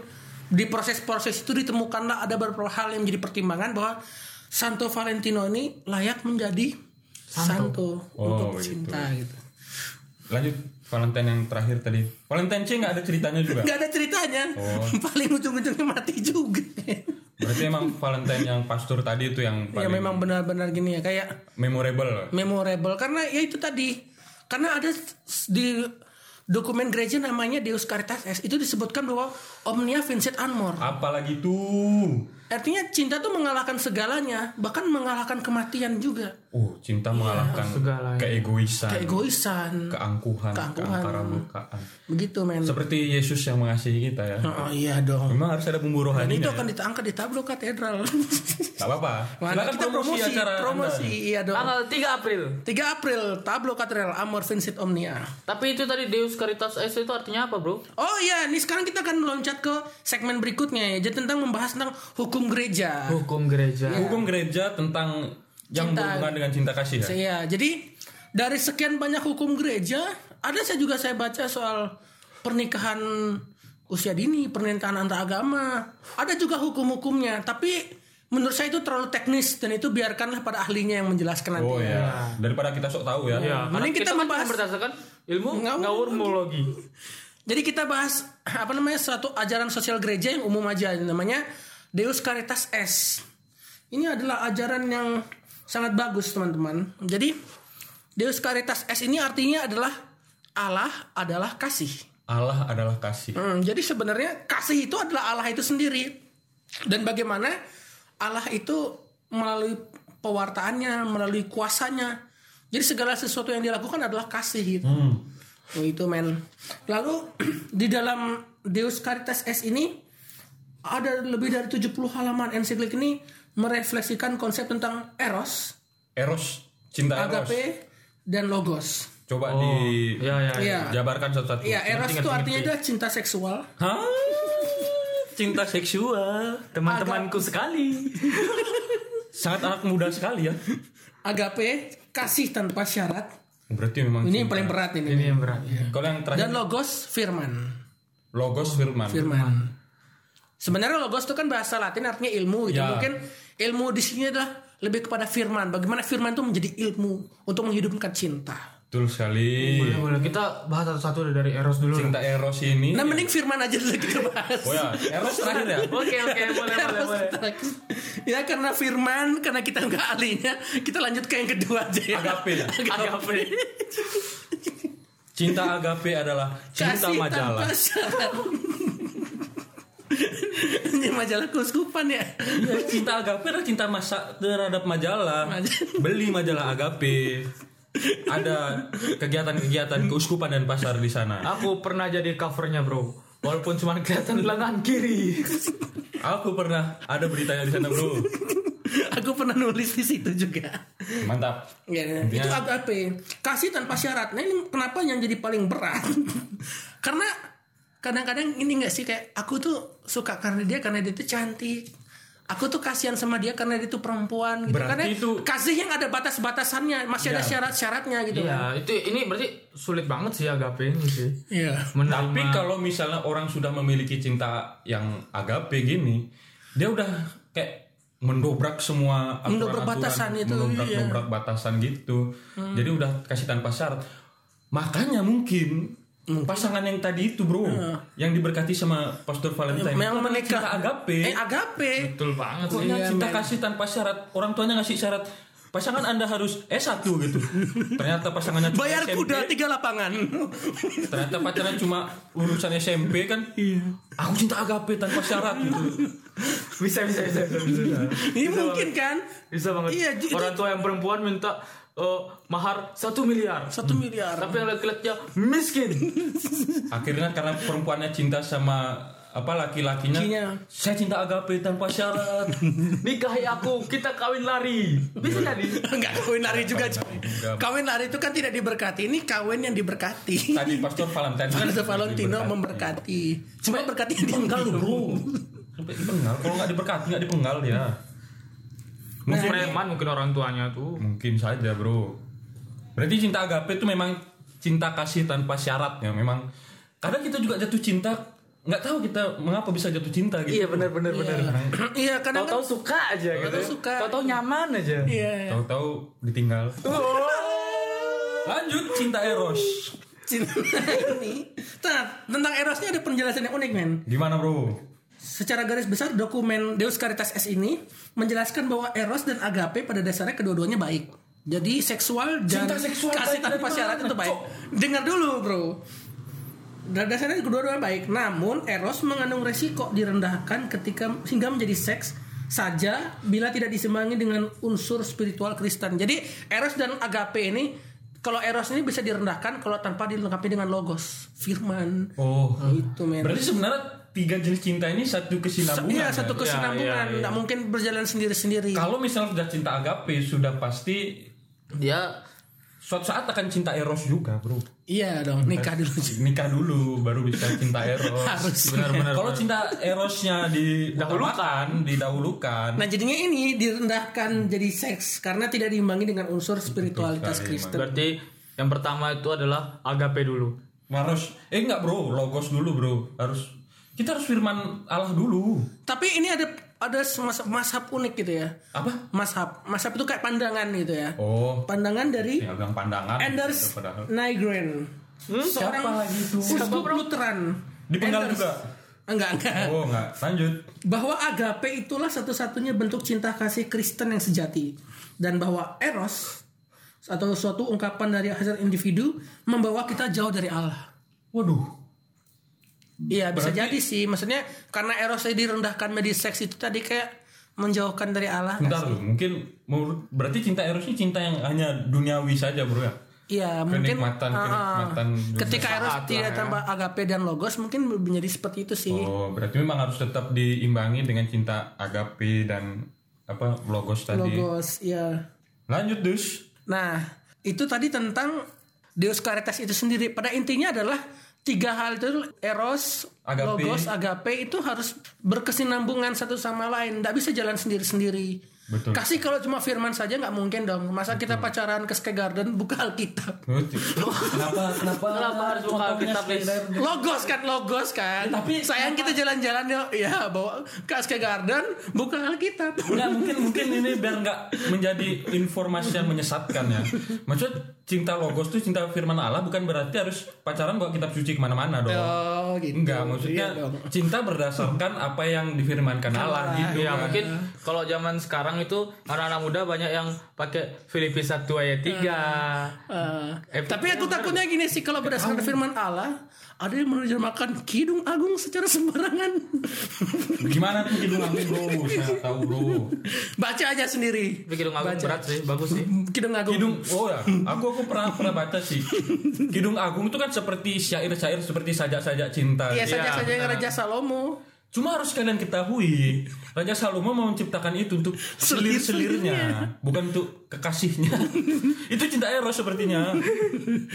[SPEAKER 2] di proses-proses itu ditemukanlah ada beberapa hal yang menjadi pertimbangan bahwa Santo Valentino ini layak menjadi santo, untuk
[SPEAKER 3] Oh, gitu.
[SPEAKER 2] cinta gitu.
[SPEAKER 3] lanjut Valentine yang terakhir tadi Valentine C nggak ada ceritanya juga
[SPEAKER 2] Gak ada ceritanya.
[SPEAKER 3] Oh.
[SPEAKER 2] Paling ujung-ujungnya mati juga.
[SPEAKER 3] berarti emang Valentine yang pastor tadi itu yang
[SPEAKER 2] ya
[SPEAKER 3] paling
[SPEAKER 2] memang benar-benar gini ya kayak
[SPEAKER 3] memorable
[SPEAKER 2] memorable karena ya itu tadi karena ada s- di dokumen gereja namanya Deus Caritas Es itu disebutkan bahwa omnia vincit amor
[SPEAKER 3] apalagi tuh
[SPEAKER 2] artinya cinta tuh mengalahkan segalanya bahkan mengalahkan kematian juga
[SPEAKER 3] oh cinta mengalahkan
[SPEAKER 4] segalanya.
[SPEAKER 3] keegoisan
[SPEAKER 2] keegoisan
[SPEAKER 3] keangkuhan,
[SPEAKER 2] Hmm. Keangkuhan. Hmm.
[SPEAKER 3] keantarabukaan.
[SPEAKER 2] begitu men
[SPEAKER 3] seperti Yesus yang mengasihi kita ya
[SPEAKER 2] oh iya dong
[SPEAKER 3] memang harus ada bumbu
[SPEAKER 2] dan
[SPEAKER 3] rohani
[SPEAKER 2] itu akan ditangkap di tablo katedral
[SPEAKER 3] Gak apa-apa.
[SPEAKER 2] Mana
[SPEAKER 3] Silakan
[SPEAKER 2] kita promosi promosi,
[SPEAKER 3] acara
[SPEAKER 2] iya dong
[SPEAKER 4] Tanggal 3 April.
[SPEAKER 2] 3 April tablo katedral amor vincit omnia
[SPEAKER 4] Tapi itu tadi Deus Caritas S itu artinya apa, Bro?
[SPEAKER 2] Oh iya, nih sekarang kita akan meloncat ke segmen berikutnya ya. Jadi tentang membahas tentang hukum gereja.
[SPEAKER 4] Hukum gereja.
[SPEAKER 3] Anda. Hukum gereja tentang yang
[SPEAKER 2] Cinta.
[SPEAKER 3] berhubungan dengan cinta kasih ya.
[SPEAKER 2] Iya, jadi dari sekian banyak hukum gereja, ada saya juga saya baca soal pernikahan usia dini, pernikahan antar agama. Ada juga hukum-hukumnya, tapi menurut saya itu terlalu teknis dan itu biarkanlah pada ahlinya yang menjelaskan nanti.
[SPEAKER 3] Oh ya. Daripada kita sok tahu ya.
[SPEAKER 4] Ya, karena
[SPEAKER 2] Iya, Mending kita
[SPEAKER 4] kan
[SPEAKER 2] membahas- Iya.
[SPEAKER 4] cuma berdasarkan ilmu
[SPEAKER 2] Ngawur.
[SPEAKER 4] ngawurmologi.
[SPEAKER 2] Jadi kita bahas apa namanya suatu ajaran sosial gereja yang umum aja namanya Deus Caritas S. Ini adalah ajaran yang sangat bagus teman-teman. Jadi Deus Caritas S ini artinya adalah Allah adalah kasih.
[SPEAKER 3] Allah adalah kasih.
[SPEAKER 2] Hmm, jadi sebenarnya kasih itu adalah Allah itu sendiri. Dan bagaimana Allah itu melalui pewartaannya, melalui kuasanya. Jadi segala sesuatu yang dilakukan adalah kasih gitu.
[SPEAKER 3] Hmm.
[SPEAKER 2] Oh, itu men. Lalu di dalam Deus Caritas S ini ada lebih dari 70 halaman ensiklik ini merefleksikan konsep tentang eros,
[SPEAKER 3] Eros, cinta eros.
[SPEAKER 2] agape, Oh. dan logos.
[SPEAKER 3] Coba
[SPEAKER 4] Ya, ya. ya.
[SPEAKER 3] dijabarkan satu-satu.
[SPEAKER 2] Iya, eros
[SPEAKER 3] Ngerti,
[SPEAKER 2] itu
[SPEAKER 3] ngerti,
[SPEAKER 2] artinya
[SPEAKER 3] ngerti.
[SPEAKER 2] adalah cinta seksual.
[SPEAKER 3] Hah? Cinta seksual.
[SPEAKER 4] Teman-temanku sekali.
[SPEAKER 3] Sangat anak muda sekali ya.
[SPEAKER 2] agape kasih tanpa syarat
[SPEAKER 3] Berarti memang
[SPEAKER 2] Ini yang paling berat ini.
[SPEAKER 4] Ini yang berat.
[SPEAKER 2] Iya.
[SPEAKER 3] Kalau yang terakhir
[SPEAKER 2] Dan logos firman. Oh,
[SPEAKER 3] logos firman.
[SPEAKER 2] Firman. Sebenarnya logos itu kan bahasa Latin artinya ilmu gitu.
[SPEAKER 3] Ya.
[SPEAKER 2] Mungkin ilmu di sini adalah lebih kepada firman. Bagaimana firman itu menjadi ilmu untuk menghidupkan cinta.
[SPEAKER 3] Betul sekali.
[SPEAKER 2] Iya.
[SPEAKER 4] Boleh, boleh. Kita bahas satu-satu dari Eros dulu.
[SPEAKER 3] Cinta eros ini.
[SPEAKER 2] Nah, mending firman aja dulu kita bahas.
[SPEAKER 3] Iya. Oh ya, eros terakhir ya.
[SPEAKER 4] Oke, oke, boleh, boleh,
[SPEAKER 2] Terus
[SPEAKER 4] boleh.
[SPEAKER 2] kita- ya karena firman karena kita nggak ahlinya kita lanjut ke yang kedua aja ya.
[SPEAKER 3] Agape ya.
[SPEAKER 4] Agape.
[SPEAKER 3] Cinta agape adalah cinta
[SPEAKER 2] Kasih
[SPEAKER 3] majalah.
[SPEAKER 2] tanpa syarat. ini majalah keuskupan ya
[SPEAKER 3] Iya, cinta agape adalah cinta masa terhadap majalah.
[SPEAKER 2] Majalah.
[SPEAKER 3] Beli majalah agape. Ada kegiatan-kegiatan keuskupan dan pasar di sana.
[SPEAKER 4] Aku pernah jadi covernya bro. Walaupun cuma kelihatan lengan kiri.
[SPEAKER 3] Aku pernah ada beritanya di sana, Bro.
[SPEAKER 2] aku pernah nulis di situ juga
[SPEAKER 3] Mantap.
[SPEAKER 2] Ya,
[SPEAKER 4] Iya.
[SPEAKER 2] itu agape kasih tanpa syarat nah ini kenapa yang jadi paling berat karena kadang-kadang ini nggak sih kayak aku tuh suka karena dia karena dia tuh cantik aku tuh kasihan sama dia karena dia tuh perempuan gitu
[SPEAKER 3] Berarti
[SPEAKER 2] karena
[SPEAKER 3] itu-
[SPEAKER 2] kasih yang ada batas-batasannya masih ada
[SPEAKER 3] Ya.
[SPEAKER 2] syarat-syaratnya gitu
[SPEAKER 4] Iya, itu ini berarti sulit banget sih agape ini sih.
[SPEAKER 2] Iya.
[SPEAKER 4] Menerima-
[SPEAKER 3] Tapi kalau misalnya orang sudah memiliki cinta yang agape gini, dia udah kayak mendobrak semua aturan-aturan,
[SPEAKER 2] Mendobrak batasan itu,
[SPEAKER 3] mendobrak
[SPEAKER 2] iya. Hmm.
[SPEAKER 3] dobrak batasan gitu. Jadi udah kasih tanpa syarat. Makanya mungkin pasangan yang tadi itu, Bro, yang diberkati sama Pastor Valentine.
[SPEAKER 2] Hmm. Yang
[SPEAKER 3] itu kan
[SPEAKER 2] menikah
[SPEAKER 3] cinta agape.
[SPEAKER 2] Eh agape.
[SPEAKER 4] betul banget sih.
[SPEAKER 3] Pokoknya cinta kasih tanpa syarat. Orang tuanya ngasih syarat pasangan Anda harus S1 gitu. Ternyata pasangannya cuma
[SPEAKER 2] Bayar
[SPEAKER 3] SMP.
[SPEAKER 2] kuda tiga lapangan.
[SPEAKER 3] Ternyata pacaran cuma urusan SMP kan. Iya. Aku cinta agape tanpa syarat gitu.
[SPEAKER 4] Bisa, bisa, bisa, bisa, bisa.
[SPEAKER 2] Ini Iya, mungkin kan?
[SPEAKER 4] Bisa banget.
[SPEAKER 2] Iya, jadi-
[SPEAKER 4] Orang tua yang perempuan minta eh, mahar satu miliar.
[SPEAKER 2] Satu miliar.
[SPEAKER 4] Tapi yang laki-lakinya miskin.
[SPEAKER 3] Akhirnya kan karena perempuannya cinta sama apa laki-lakinya.
[SPEAKER 2] Lakinya.
[SPEAKER 3] Saya cinta agape tanpa syarat.
[SPEAKER 4] Nikahi aku, kita kawin lari. Bisa jadi.
[SPEAKER 2] Enggak kawin lari juga. Cok.
[SPEAKER 3] juga.
[SPEAKER 2] Kawin lari itu kan tidak diberkati. Ini kawin yang diberkati.
[SPEAKER 3] Tadi Pastor Valentine. kan
[SPEAKER 2] Karena Valentino
[SPEAKER 3] diberkati.
[SPEAKER 2] memberkati. Cuma berkati dia
[SPEAKER 3] Dipengal lu,
[SPEAKER 2] enggak.
[SPEAKER 3] Bro. Sampai dipengal. Kalau nggak diberkati nggak dipengal ya.
[SPEAKER 4] Mungkin preman mungkin orang tuanya tuh.
[SPEAKER 3] Mungkin saja, Bro. Berarti cinta agape itu memang cinta kasih tanpa syarat ya. Memang kadang kita juga jatuh cinta nggak tahu kita mengapa bisa jatuh cinta gitu.
[SPEAKER 4] Iya benar benar benar.
[SPEAKER 2] Iya, kadang kan
[SPEAKER 4] Tahu-tahu suka aja gitu.
[SPEAKER 2] Tahu-tahu suka.
[SPEAKER 4] Tahu-tahu nyaman aja.
[SPEAKER 2] Iya.
[SPEAKER 3] Tahu-tahu ditinggal. Oh. Lanjut cinta eros.
[SPEAKER 2] Cinta ini. Nah, tentang erosnya ada penjelasan yang unik, men.
[SPEAKER 3] Gimana, Bro?
[SPEAKER 2] Secara garis besar dokumen Deus Caritas S ini menjelaskan bahwa eros dan agape pada dasarnya kedua-duanya baik. Jadi seksual dan
[SPEAKER 3] Cinta seksual
[SPEAKER 2] kasih
[SPEAKER 3] baik
[SPEAKER 2] tanpa
[SPEAKER 3] dari
[SPEAKER 2] syarat
[SPEAKER 3] mana,
[SPEAKER 2] itu baik.
[SPEAKER 3] Cok?
[SPEAKER 2] Dengar dulu, Bro. Dan dasarnya kedua-duanya baik. Namun eros mengandung resiko direndahkan ketika hingga menjadi seks saja bila tidak disemangi dengan unsur spiritual Kristen. Jadi eros dan agape ini kalau eros ini bisa direndahkan kalau tanpa dilengkapi dengan logos, firman.
[SPEAKER 3] Oh.
[SPEAKER 2] Itu men.
[SPEAKER 3] Berarti sebenarnya tiga jenis cinta ini satu kesinambungan.
[SPEAKER 2] Iya
[SPEAKER 3] kan?
[SPEAKER 2] satu kesinambungan,
[SPEAKER 4] Iya, iya, iya.
[SPEAKER 2] nggak mungkin berjalan sendiri-sendiri.
[SPEAKER 3] Kalau misalnya sudah cinta agape sudah pasti
[SPEAKER 4] Dia
[SPEAKER 3] suatu saat akan cinta eros juga, Bro.
[SPEAKER 2] Iya dong, nikah dulu. sih.
[SPEAKER 3] Nikah dulu baru bisa cinta eros.
[SPEAKER 2] Harus.
[SPEAKER 3] Benar-benar. Kalau cinta erosnya didahulukan, didahulukan.
[SPEAKER 2] Nah jadinya ini direndahkan jadi seks karena tidak diimbangi dengan unsur spiritualitas Kristen.
[SPEAKER 4] berarti yang pertama itu adalah agape dulu.
[SPEAKER 3] Harus eh enggak, Bro. Logos dulu, Bro. Harus kita harus firman Allah dulu.
[SPEAKER 2] Tapi ini ada ada mas- mashab unik gitu ya.
[SPEAKER 3] Apa?
[SPEAKER 2] Mashab, mashab itu kayak pandangan gitu ya.
[SPEAKER 3] Oh,
[SPEAKER 2] Pandangan dari
[SPEAKER 3] tinggal bilang pandangan.
[SPEAKER 2] Anders
[SPEAKER 3] Itu Iya, padahal.
[SPEAKER 2] Nygren.
[SPEAKER 3] Hmm, Siapa lagi itu?
[SPEAKER 2] Siapa Lutheran?
[SPEAKER 3] Dipenggal
[SPEAKER 2] Anders.
[SPEAKER 3] juga.
[SPEAKER 2] Enggak, enggak.
[SPEAKER 3] Oh, enggak. Lanjut.
[SPEAKER 2] bahwa agape itulah satu-satunya bentuk cinta kasih Kristen yang sejati dan bahwa eros atau suatu ungkapan dari hasrat individu membawa kita jauh dari Allah.
[SPEAKER 3] Waduh.
[SPEAKER 2] Iya bisa jadi sih, maksudnya karena eros tadi direndahkan menjadi seks itu tadi kayak menjauhkan dari Allah.
[SPEAKER 3] Bentar loh, mungkin menurut- berarti cinta erosnya cinta yang hanya duniawi saja bro ya?
[SPEAKER 2] Iya mungkin
[SPEAKER 3] Kenikmatan,
[SPEAKER 2] Ah, ah.
[SPEAKER 3] kenikmatan dunia
[SPEAKER 2] ketika eros
[SPEAKER 4] saat lah
[SPEAKER 2] tidak
[SPEAKER 4] ya.
[SPEAKER 2] tambah agape dan logos mungkin menjadi seperti itu sih.
[SPEAKER 3] Oh, berarti memang harus tetap diimbangi dengan cinta agape dan apa logos tadi.
[SPEAKER 2] Logos, iya.
[SPEAKER 3] Lanjut dus.
[SPEAKER 2] Nah, itu tadi tentang Deus Caritas itu sendiri. Pada intinya adalah tiga hal itu eros,
[SPEAKER 3] Agape.
[SPEAKER 2] logos, agape itu harus berkesinambungan satu sama lain. Tidak bisa jalan sendiri-sendiri.
[SPEAKER 3] Betul.
[SPEAKER 2] Kasih kalau cuma firman saja nggak mungkin dong. Masa kita pacaran ke Sky Garden buka Alkitab.
[SPEAKER 3] kenapa kenapa
[SPEAKER 4] Kenapa harus buka
[SPEAKER 3] contohnya
[SPEAKER 4] Alkitab, Lis?
[SPEAKER 3] sekedar
[SPEAKER 2] Logos kan, logos kan.
[SPEAKER 3] tapi
[SPEAKER 2] sayang kita jalan-jalan yuk. Ya, bawa ke Sky Garden buka Alkitab.
[SPEAKER 3] Nggak, mungkin mungkin ini biar nggak menjadi informasi yang menyesatkan ya. Maksud cinta logos tuh cinta firman Allah bukan berarti harus pacaran bawa kitab suci kemana-mana dong.
[SPEAKER 2] Oh, gitu.
[SPEAKER 3] Enggak, maksudnya
[SPEAKER 2] Iya dong. Iya.
[SPEAKER 3] cinta berdasarkan apa yang difirmankan Allah gitu.
[SPEAKER 4] Ya
[SPEAKER 3] kan.
[SPEAKER 4] mungkin kalau zaman sekarang itu anak-anak muda banyak yang pakai Filipi 1 ayat 3.
[SPEAKER 2] Eh, tapi aku takutnya gini sih kalau berdasarkan firman Allah ada yang menerjemahkan Kidung Agung secara sembarangan.
[SPEAKER 3] Gimana tuh kidung angin bro? Saya tahu bro.
[SPEAKER 2] Baca aja sendiri.
[SPEAKER 4] Tapi kidung agung berat sih, bagus sih.
[SPEAKER 2] Kidung Agung.
[SPEAKER 3] Kidung, oh ya, aku aku pernah pernah baca sih. Kidung Agung itu kan seperti syair-syair seperti sajak-sajak cinta.
[SPEAKER 2] Iya
[SPEAKER 4] Iya,
[SPEAKER 2] saja saja yang Raja Salomo.
[SPEAKER 3] Cuma harus kalian ketahui, Raja Salomo mau menciptakan itu untuk selir-selirnya, bukan untuk kekasihnya. itu cinta eros sepertinya.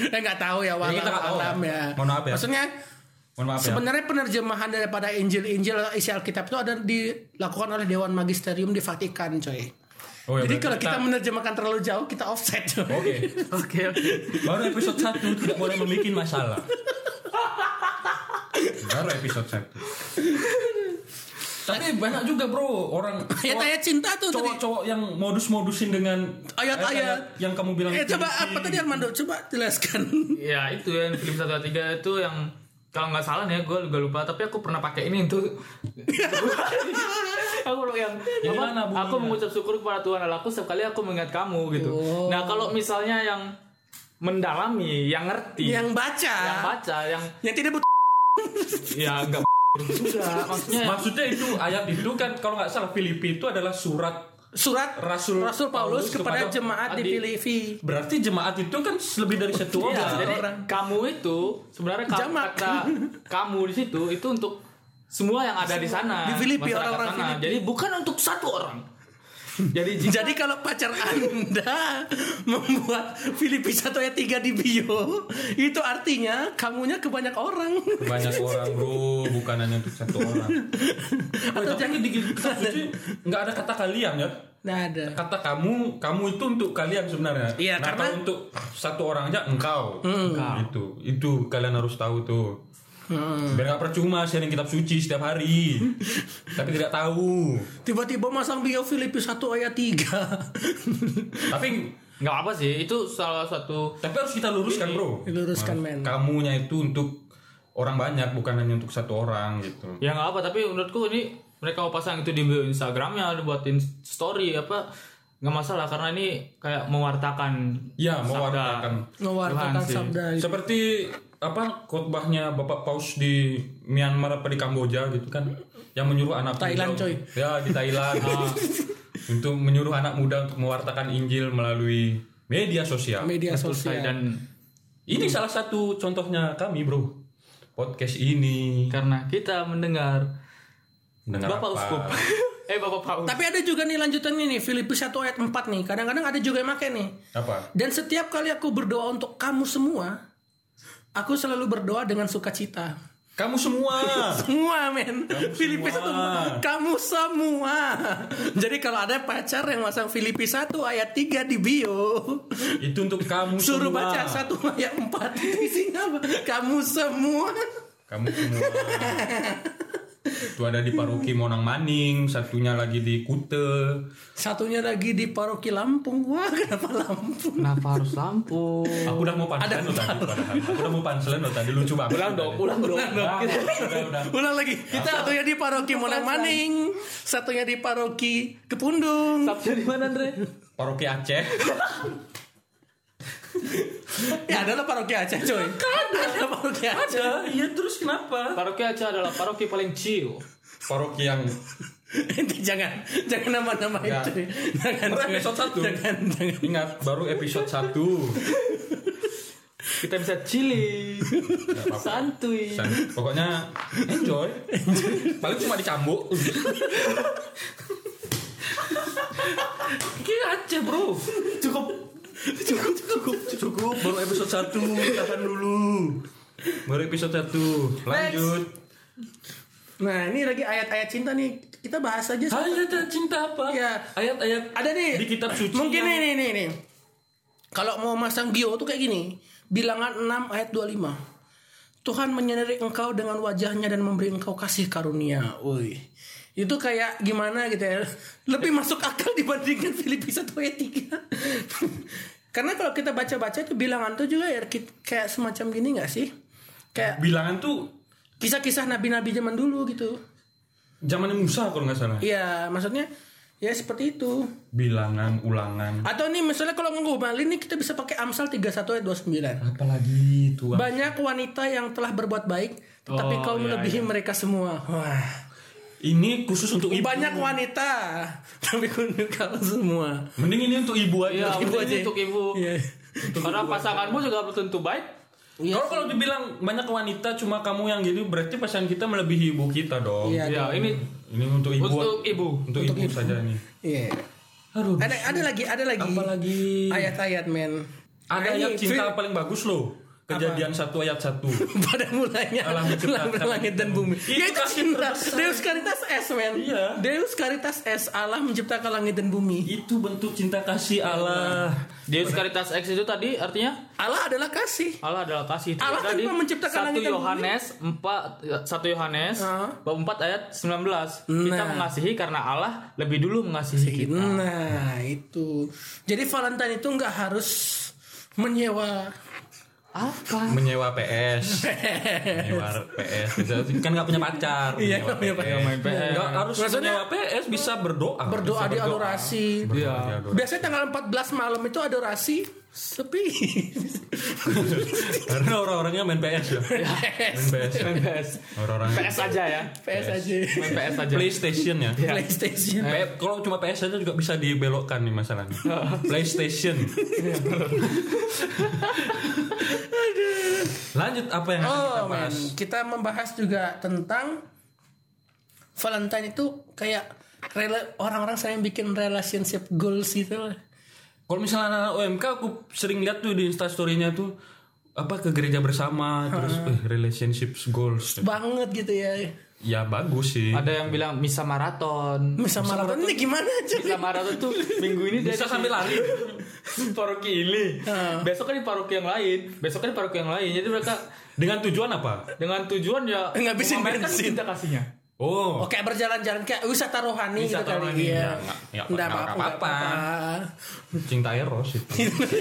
[SPEAKER 2] Eh nggak tahu ya walau
[SPEAKER 3] kita nggak tahu
[SPEAKER 2] alam
[SPEAKER 3] ya.
[SPEAKER 2] ya.
[SPEAKER 3] Mohon maaf ya.
[SPEAKER 2] Maksudnya
[SPEAKER 3] Mohon maaf ya.
[SPEAKER 2] sebenarnya penerjemahan daripada Injil-Injil atau isi Alkitab itu ada dilakukan oleh Dewan Magisterium di Vatikan, coy.
[SPEAKER 3] Oh ya,
[SPEAKER 2] Jadi
[SPEAKER 3] berarti
[SPEAKER 2] kalau kita
[SPEAKER 3] kita-
[SPEAKER 2] menerjemahkan terlalu jauh kita offset. coy.
[SPEAKER 3] Oke.
[SPEAKER 4] Oke, oke.
[SPEAKER 3] Baru episode 1 tidak boleh membuat masalah. Baru episode 1. Tapi banyak juga bro orang
[SPEAKER 2] Ya
[SPEAKER 3] cowok-
[SPEAKER 2] tanya cinta tuh tadi.
[SPEAKER 3] cowok-cowok yang modus-modusin dengan
[SPEAKER 2] Ayat-ayat.
[SPEAKER 3] yang kamu bilang
[SPEAKER 2] Eh coba
[SPEAKER 3] Filipi.
[SPEAKER 2] apa tadi Armando? Coba jelaskan.
[SPEAKER 4] Ya itu yang Filipi 1 ayat 3 itu yang kalau nggak salah nih, gue juga lupa. Tapi aku pernah pakai ini untuk aku lu yang
[SPEAKER 3] Jadi
[SPEAKER 4] apa,
[SPEAKER 3] mana bunyinya?
[SPEAKER 4] aku mengucap syukur kepada Tuhan Allahku setiap kali aku mengingat kamu gitu.
[SPEAKER 2] Oh.
[SPEAKER 4] Nah kalau misalnya yang mendalami, yang ngerti,
[SPEAKER 2] yang baca.
[SPEAKER 4] Iya. yang baca, yang
[SPEAKER 2] Yang tidak butuh
[SPEAKER 4] ya nggak juga
[SPEAKER 2] Ya.
[SPEAKER 4] maksudnya
[SPEAKER 3] Maksudnya itu ayat itu kan kalau nggak salah Filipi itu adalah surat
[SPEAKER 2] surat
[SPEAKER 3] Rasul
[SPEAKER 2] Rasul Paulus, kepada, jemaat di
[SPEAKER 4] adik-
[SPEAKER 2] Filipi.
[SPEAKER 3] Berarti jemaat itu kan lebih dari satu
[SPEAKER 4] Iya,
[SPEAKER 3] orang.
[SPEAKER 4] jadi
[SPEAKER 2] orang.
[SPEAKER 4] kamu itu sebenarnya ka-
[SPEAKER 2] Jamak.
[SPEAKER 4] kata kamu di situ itu untuk semua yang ada di
[SPEAKER 2] Di
[SPEAKER 4] sana.
[SPEAKER 2] Filipi,
[SPEAKER 4] masyarakat
[SPEAKER 2] orang-orang
[SPEAKER 4] sana.
[SPEAKER 2] Filipi.
[SPEAKER 4] Jadi bukan untuk satu orang. Jadi jika
[SPEAKER 2] Jadi kalau pacar Anda membuat Filipi 1 ayat 3 di bio, itu artinya kamunya ke banyak orang.
[SPEAKER 3] Banyak orang bro, bukan hanya untuk satu orang.
[SPEAKER 2] Atau
[SPEAKER 3] Tapi
[SPEAKER 2] jangan
[SPEAKER 3] di kitab suci nggak ada kata kalian ya.
[SPEAKER 2] Nah, ada.
[SPEAKER 3] Kata kamu, kamu itu untuk kalian sebenarnya.
[SPEAKER 2] Iya,
[SPEAKER 3] Nah,
[SPEAKER 2] karena- Hmm.
[SPEAKER 3] kalau untuk satu orang aja engkau. Itu, itu kalian harus tahu tuh.
[SPEAKER 2] Hmm.
[SPEAKER 3] Biar nggak percuma sharing kitab suci setiap hari, tapi tidak tahu.
[SPEAKER 2] Tiba-tiba masang bio Filipi 1 ayat 3.
[SPEAKER 3] Tapi
[SPEAKER 4] nggak apa sih itu salah satu
[SPEAKER 3] Tapi harus kita luruskan bro
[SPEAKER 2] Diluruskan,
[SPEAKER 3] Nah,
[SPEAKER 2] men.
[SPEAKER 3] Kamunya itu untuk orang banyak Bukan hanya untuk satu orang gitu
[SPEAKER 4] ya nggak apa tapi menurutku ini mereka mau pasang itu di bio Instagramnya dibuatin story apa nggak masalah karena ini kayak mewartakan
[SPEAKER 3] Ya
[SPEAKER 4] sabda.
[SPEAKER 3] mewartakan
[SPEAKER 2] Mewartakan
[SPEAKER 4] Tuhan sih.
[SPEAKER 2] sabda.
[SPEAKER 3] Seperti apa khotbahnya Bapak Paus di Myanmar apa di Kamboja gitu kan Yang menyuruh anak
[SPEAKER 2] Thailand,
[SPEAKER 3] muda
[SPEAKER 2] coy.
[SPEAKER 3] Ya di Thailand ah. Untuk menyuruh anak muda untuk mewartakan Injil melalui media sosial
[SPEAKER 2] Media
[SPEAKER 4] Betul sekali.
[SPEAKER 2] sosial.
[SPEAKER 4] dan
[SPEAKER 3] Ini salah satu contohnya kami bro Podcast ini
[SPEAKER 4] karena kita mendengar
[SPEAKER 3] Mendengar
[SPEAKER 4] Bapak
[SPEAKER 3] apa?
[SPEAKER 4] Uskup eh Bapak Paus
[SPEAKER 2] Tapi ada juga nih lanjutannya nih Filipi 1 ayat 4 nih. Kadang-kadang ada juga yang make nih.
[SPEAKER 3] Apa?
[SPEAKER 2] Dan setiap kali aku berdoa untuk kamu semua, aku selalu berdoa dengan sukacita.
[SPEAKER 3] Kamu semua
[SPEAKER 2] Semua men, Filipi satu, kamu semua. Jadi kalau ada pacar yang masang Filipi 1 ayat 3 di bio,
[SPEAKER 3] itu untuk kamu
[SPEAKER 2] suruh
[SPEAKER 3] semua.
[SPEAKER 2] baca satu ayat 4 isinya apa? Kamu semua.
[SPEAKER 3] kamu semua itu ada di paroki Monang Maning satunya lagi di Kute
[SPEAKER 2] Satunya lagi di paroki Lampung. Wah, kenapa Lampung?
[SPEAKER 4] Kenapa harus lampu?
[SPEAKER 3] aku udah mau panselan loh tadi padahal. aku udah mau panselan loh tadi lucu banget
[SPEAKER 4] Pulang dong, pulang dong.
[SPEAKER 3] Udah, udah, udah.
[SPEAKER 2] Ulang lagi. Satunya di paroki Monang Maning, satunya di paroki Kepundung.
[SPEAKER 4] Sabtu di mana, Andre?
[SPEAKER 3] paroki Aceh
[SPEAKER 2] Ya ada lah paroki Aceh coy Ada paroki Aceh
[SPEAKER 3] ada iya terus kenapa
[SPEAKER 4] Paroki Aceh adalah paroki paling chill.
[SPEAKER 3] paroki yang
[SPEAKER 2] Jangan Jangan nama-nama
[SPEAKER 3] Enggak.
[SPEAKER 2] itu Jangan jangan.
[SPEAKER 3] Baru Ya. episode satu.
[SPEAKER 2] Jangan jangan.
[SPEAKER 3] ingat baru episode 1
[SPEAKER 4] Kita bisa chili, santuy.
[SPEAKER 3] pokoknya enjoy paling cuma dicambuk
[SPEAKER 4] Kira Aceh, Bro. Cukup
[SPEAKER 3] cukup cukup cukup baru episode 1 tahan dulu baru episode 1 lanjut
[SPEAKER 2] Nah ini lagi ayat-ayat cinta nih kita bahas aja soal-
[SPEAKER 3] Ayat cinta apa?
[SPEAKER 2] Iya.
[SPEAKER 3] Ayat-ayat
[SPEAKER 2] ada nih
[SPEAKER 3] di kitab suci.
[SPEAKER 2] mungkin
[SPEAKER 3] yang-
[SPEAKER 2] nih nih nih, nih. kalau mau masang bio tuh kayak gini bilangan 6 ayat 25 Tuhan menyadari engkau dengan wajahnya dan memberi engkau kasih karunia Woi itu kayak gimana gitu ya lebih masuk akal dibandingkan Filipi 1 ayat 3 karena kalau kita baca-baca itu bilangan tuh juga ya ki- kayak semacam gini nggak sih kayak
[SPEAKER 3] bilangan tuh
[SPEAKER 2] kisah-kisah nabi-nabi zaman dulu gitu
[SPEAKER 3] zamannya Musa kalau nggak salah.
[SPEAKER 2] iya maksudnya ya seperti itu
[SPEAKER 3] Bilangan, ulangan.
[SPEAKER 2] Atau nih misalnya kalau ngegombalin nih kita bisa pakai Amsal 31 ayat 29.
[SPEAKER 3] Apalagi itu.
[SPEAKER 2] Banyak wanita yang telah berbuat baik, tetapi
[SPEAKER 4] Oh,
[SPEAKER 2] kau
[SPEAKER 4] iya,
[SPEAKER 2] melebihi mereka semua. Wah.
[SPEAKER 3] Ini khusus untuk ibu.
[SPEAKER 2] Banyak wanita, tapi kunjung kau semua.
[SPEAKER 3] Mending ini untuk ibu
[SPEAKER 4] Iya,
[SPEAKER 3] aja.
[SPEAKER 2] Ibu
[SPEAKER 4] ibu
[SPEAKER 2] aja.
[SPEAKER 4] untuk ibu.
[SPEAKER 2] Iya.
[SPEAKER 4] Karena pasanganmu juga belum tentu baik.
[SPEAKER 2] Iya.
[SPEAKER 3] Kalau kalau dibilang banyak wanita cuma kamu yang jadi berarti pasangan kita melebihi ibu kita dong.
[SPEAKER 2] Iya.
[SPEAKER 4] Ya, ini
[SPEAKER 3] Ini untuk ibu.
[SPEAKER 4] untuk ibu.
[SPEAKER 3] Untuk ibu, saja ini.
[SPEAKER 2] Iya.
[SPEAKER 3] Aduh.
[SPEAKER 2] Ada ada lagi, ada lagi.
[SPEAKER 3] Apalagi
[SPEAKER 2] Ayat-ayat men. Nah,
[SPEAKER 3] ada
[SPEAKER 2] ini
[SPEAKER 3] ayat cinta
[SPEAKER 2] Fil-
[SPEAKER 3] paling bagus loh. Kejadian satu ayat satu.
[SPEAKER 2] pada mulanya
[SPEAKER 3] Alam
[SPEAKER 2] lah
[SPEAKER 3] menciptakan
[SPEAKER 2] langit dan bumi.
[SPEAKER 3] Itu
[SPEAKER 2] Ya itu
[SPEAKER 3] kasih
[SPEAKER 2] cinta.
[SPEAKER 3] terbesar.
[SPEAKER 2] Deus Caritas S men.
[SPEAKER 3] Iya.
[SPEAKER 2] Deus Caritas S Allah menciptakan langit dan bumi.
[SPEAKER 3] itu bentuk cinta kasih Allah.
[SPEAKER 4] Deus Caritas X itu tadi artinya
[SPEAKER 2] Allah adalah kasih.
[SPEAKER 4] Allah adalah kasih. Itu
[SPEAKER 2] Allah
[SPEAKER 4] tadi
[SPEAKER 2] tanpa menciptakan langit
[SPEAKER 4] 1
[SPEAKER 2] dan bumi.
[SPEAKER 4] Yohanes 4 1 Yohanes
[SPEAKER 2] Hah?
[SPEAKER 4] bab 4 ayat 19. Kita
[SPEAKER 2] Nah.
[SPEAKER 4] mengasihi karena Allah lebih dulu mengasihi kita.
[SPEAKER 2] Nah itu Jadi Valentine itu nggak harus Menyewa
[SPEAKER 4] Apa?
[SPEAKER 3] Menyewa PS. Menyewa PS. Bisa- Kan nggak punya pacar.
[SPEAKER 2] Iya, nggak punya pacar.
[SPEAKER 3] Main PS. Nggak harus
[SPEAKER 2] Maksudnya-
[SPEAKER 3] menyewa PS bisa berdoa.
[SPEAKER 2] Berdoa
[SPEAKER 3] Bisa
[SPEAKER 2] di adorasi
[SPEAKER 3] Berdoa
[SPEAKER 4] Iya.
[SPEAKER 3] di adorasi.
[SPEAKER 2] Biasanya tanggal 14 malam itu adorasi Sepi
[SPEAKER 3] Karena orang-orangnya main PS ya. Main PS.
[SPEAKER 4] PS.
[SPEAKER 3] Orang-orangnya
[SPEAKER 4] PS aja ya.
[SPEAKER 2] PS aja
[SPEAKER 4] Main PS aja.
[SPEAKER 3] PlayStation ya.
[SPEAKER 2] Playstation
[SPEAKER 3] P- Kalau cuma PS aja juga bisa dibelokkan nih masalahnya. PlayStation. Lanjut apa yang akan kita
[SPEAKER 2] Oh man
[SPEAKER 3] bahas?
[SPEAKER 2] Kita membahas juga tentang Valentine itu kayak rela- Orang-orang sering bikin relationship goals gitu lah
[SPEAKER 3] Kalau misalnya anak UMK aku sering lihat tuh di instastorynya tuh apa ke gereja bersama terus eh, relationship goals
[SPEAKER 2] Banget gitu ya
[SPEAKER 3] ya bagus sih
[SPEAKER 4] Ada yang bilang misa maraton.
[SPEAKER 2] Bisa maraton ini gimana aja
[SPEAKER 4] Misa maraton tuh minggu ini dia
[SPEAKER 3] bisa
[SPEAKER 4] ada di
[SPEAKER 3] sambil lari
[SPEAKER 4] paroki ini.
[SPEAKER 2] Hah.
[SPEAKER 4] Besok kan di paroki yang lain, besok kan di paroki yang lain. Jadi mereka
[SPEAKER 3] dengan tujuan apa
[SPEAKER 4] dengan tujuan ya
[SPEAKER 2] Eh, Ngabisin
[SPEAKER 4] memamerkan
[SPEAKER 2] bensin.
[SPEAKER 4] cinta kasihnya.
[SPEAKER 3] oh
[SPEAKER 2] Oke berjalan-jalan kayak wisata rohani gitu
[SPEAKER 3] Wisata rohani,
[SPEAKER 2] kali
[SPEAKER 3] ya,
[SPEAKER 2] ya.
[SPEAKER 3] nggak-
[SPEAKER 2] Nggak
[SPEAKER 3] nggak- nggak
[SPEAKER 2] apa-apa. nggak
[SPEAKER 3] apa-apa. cinta eros itu
[SPEAKER 2] apa-apa.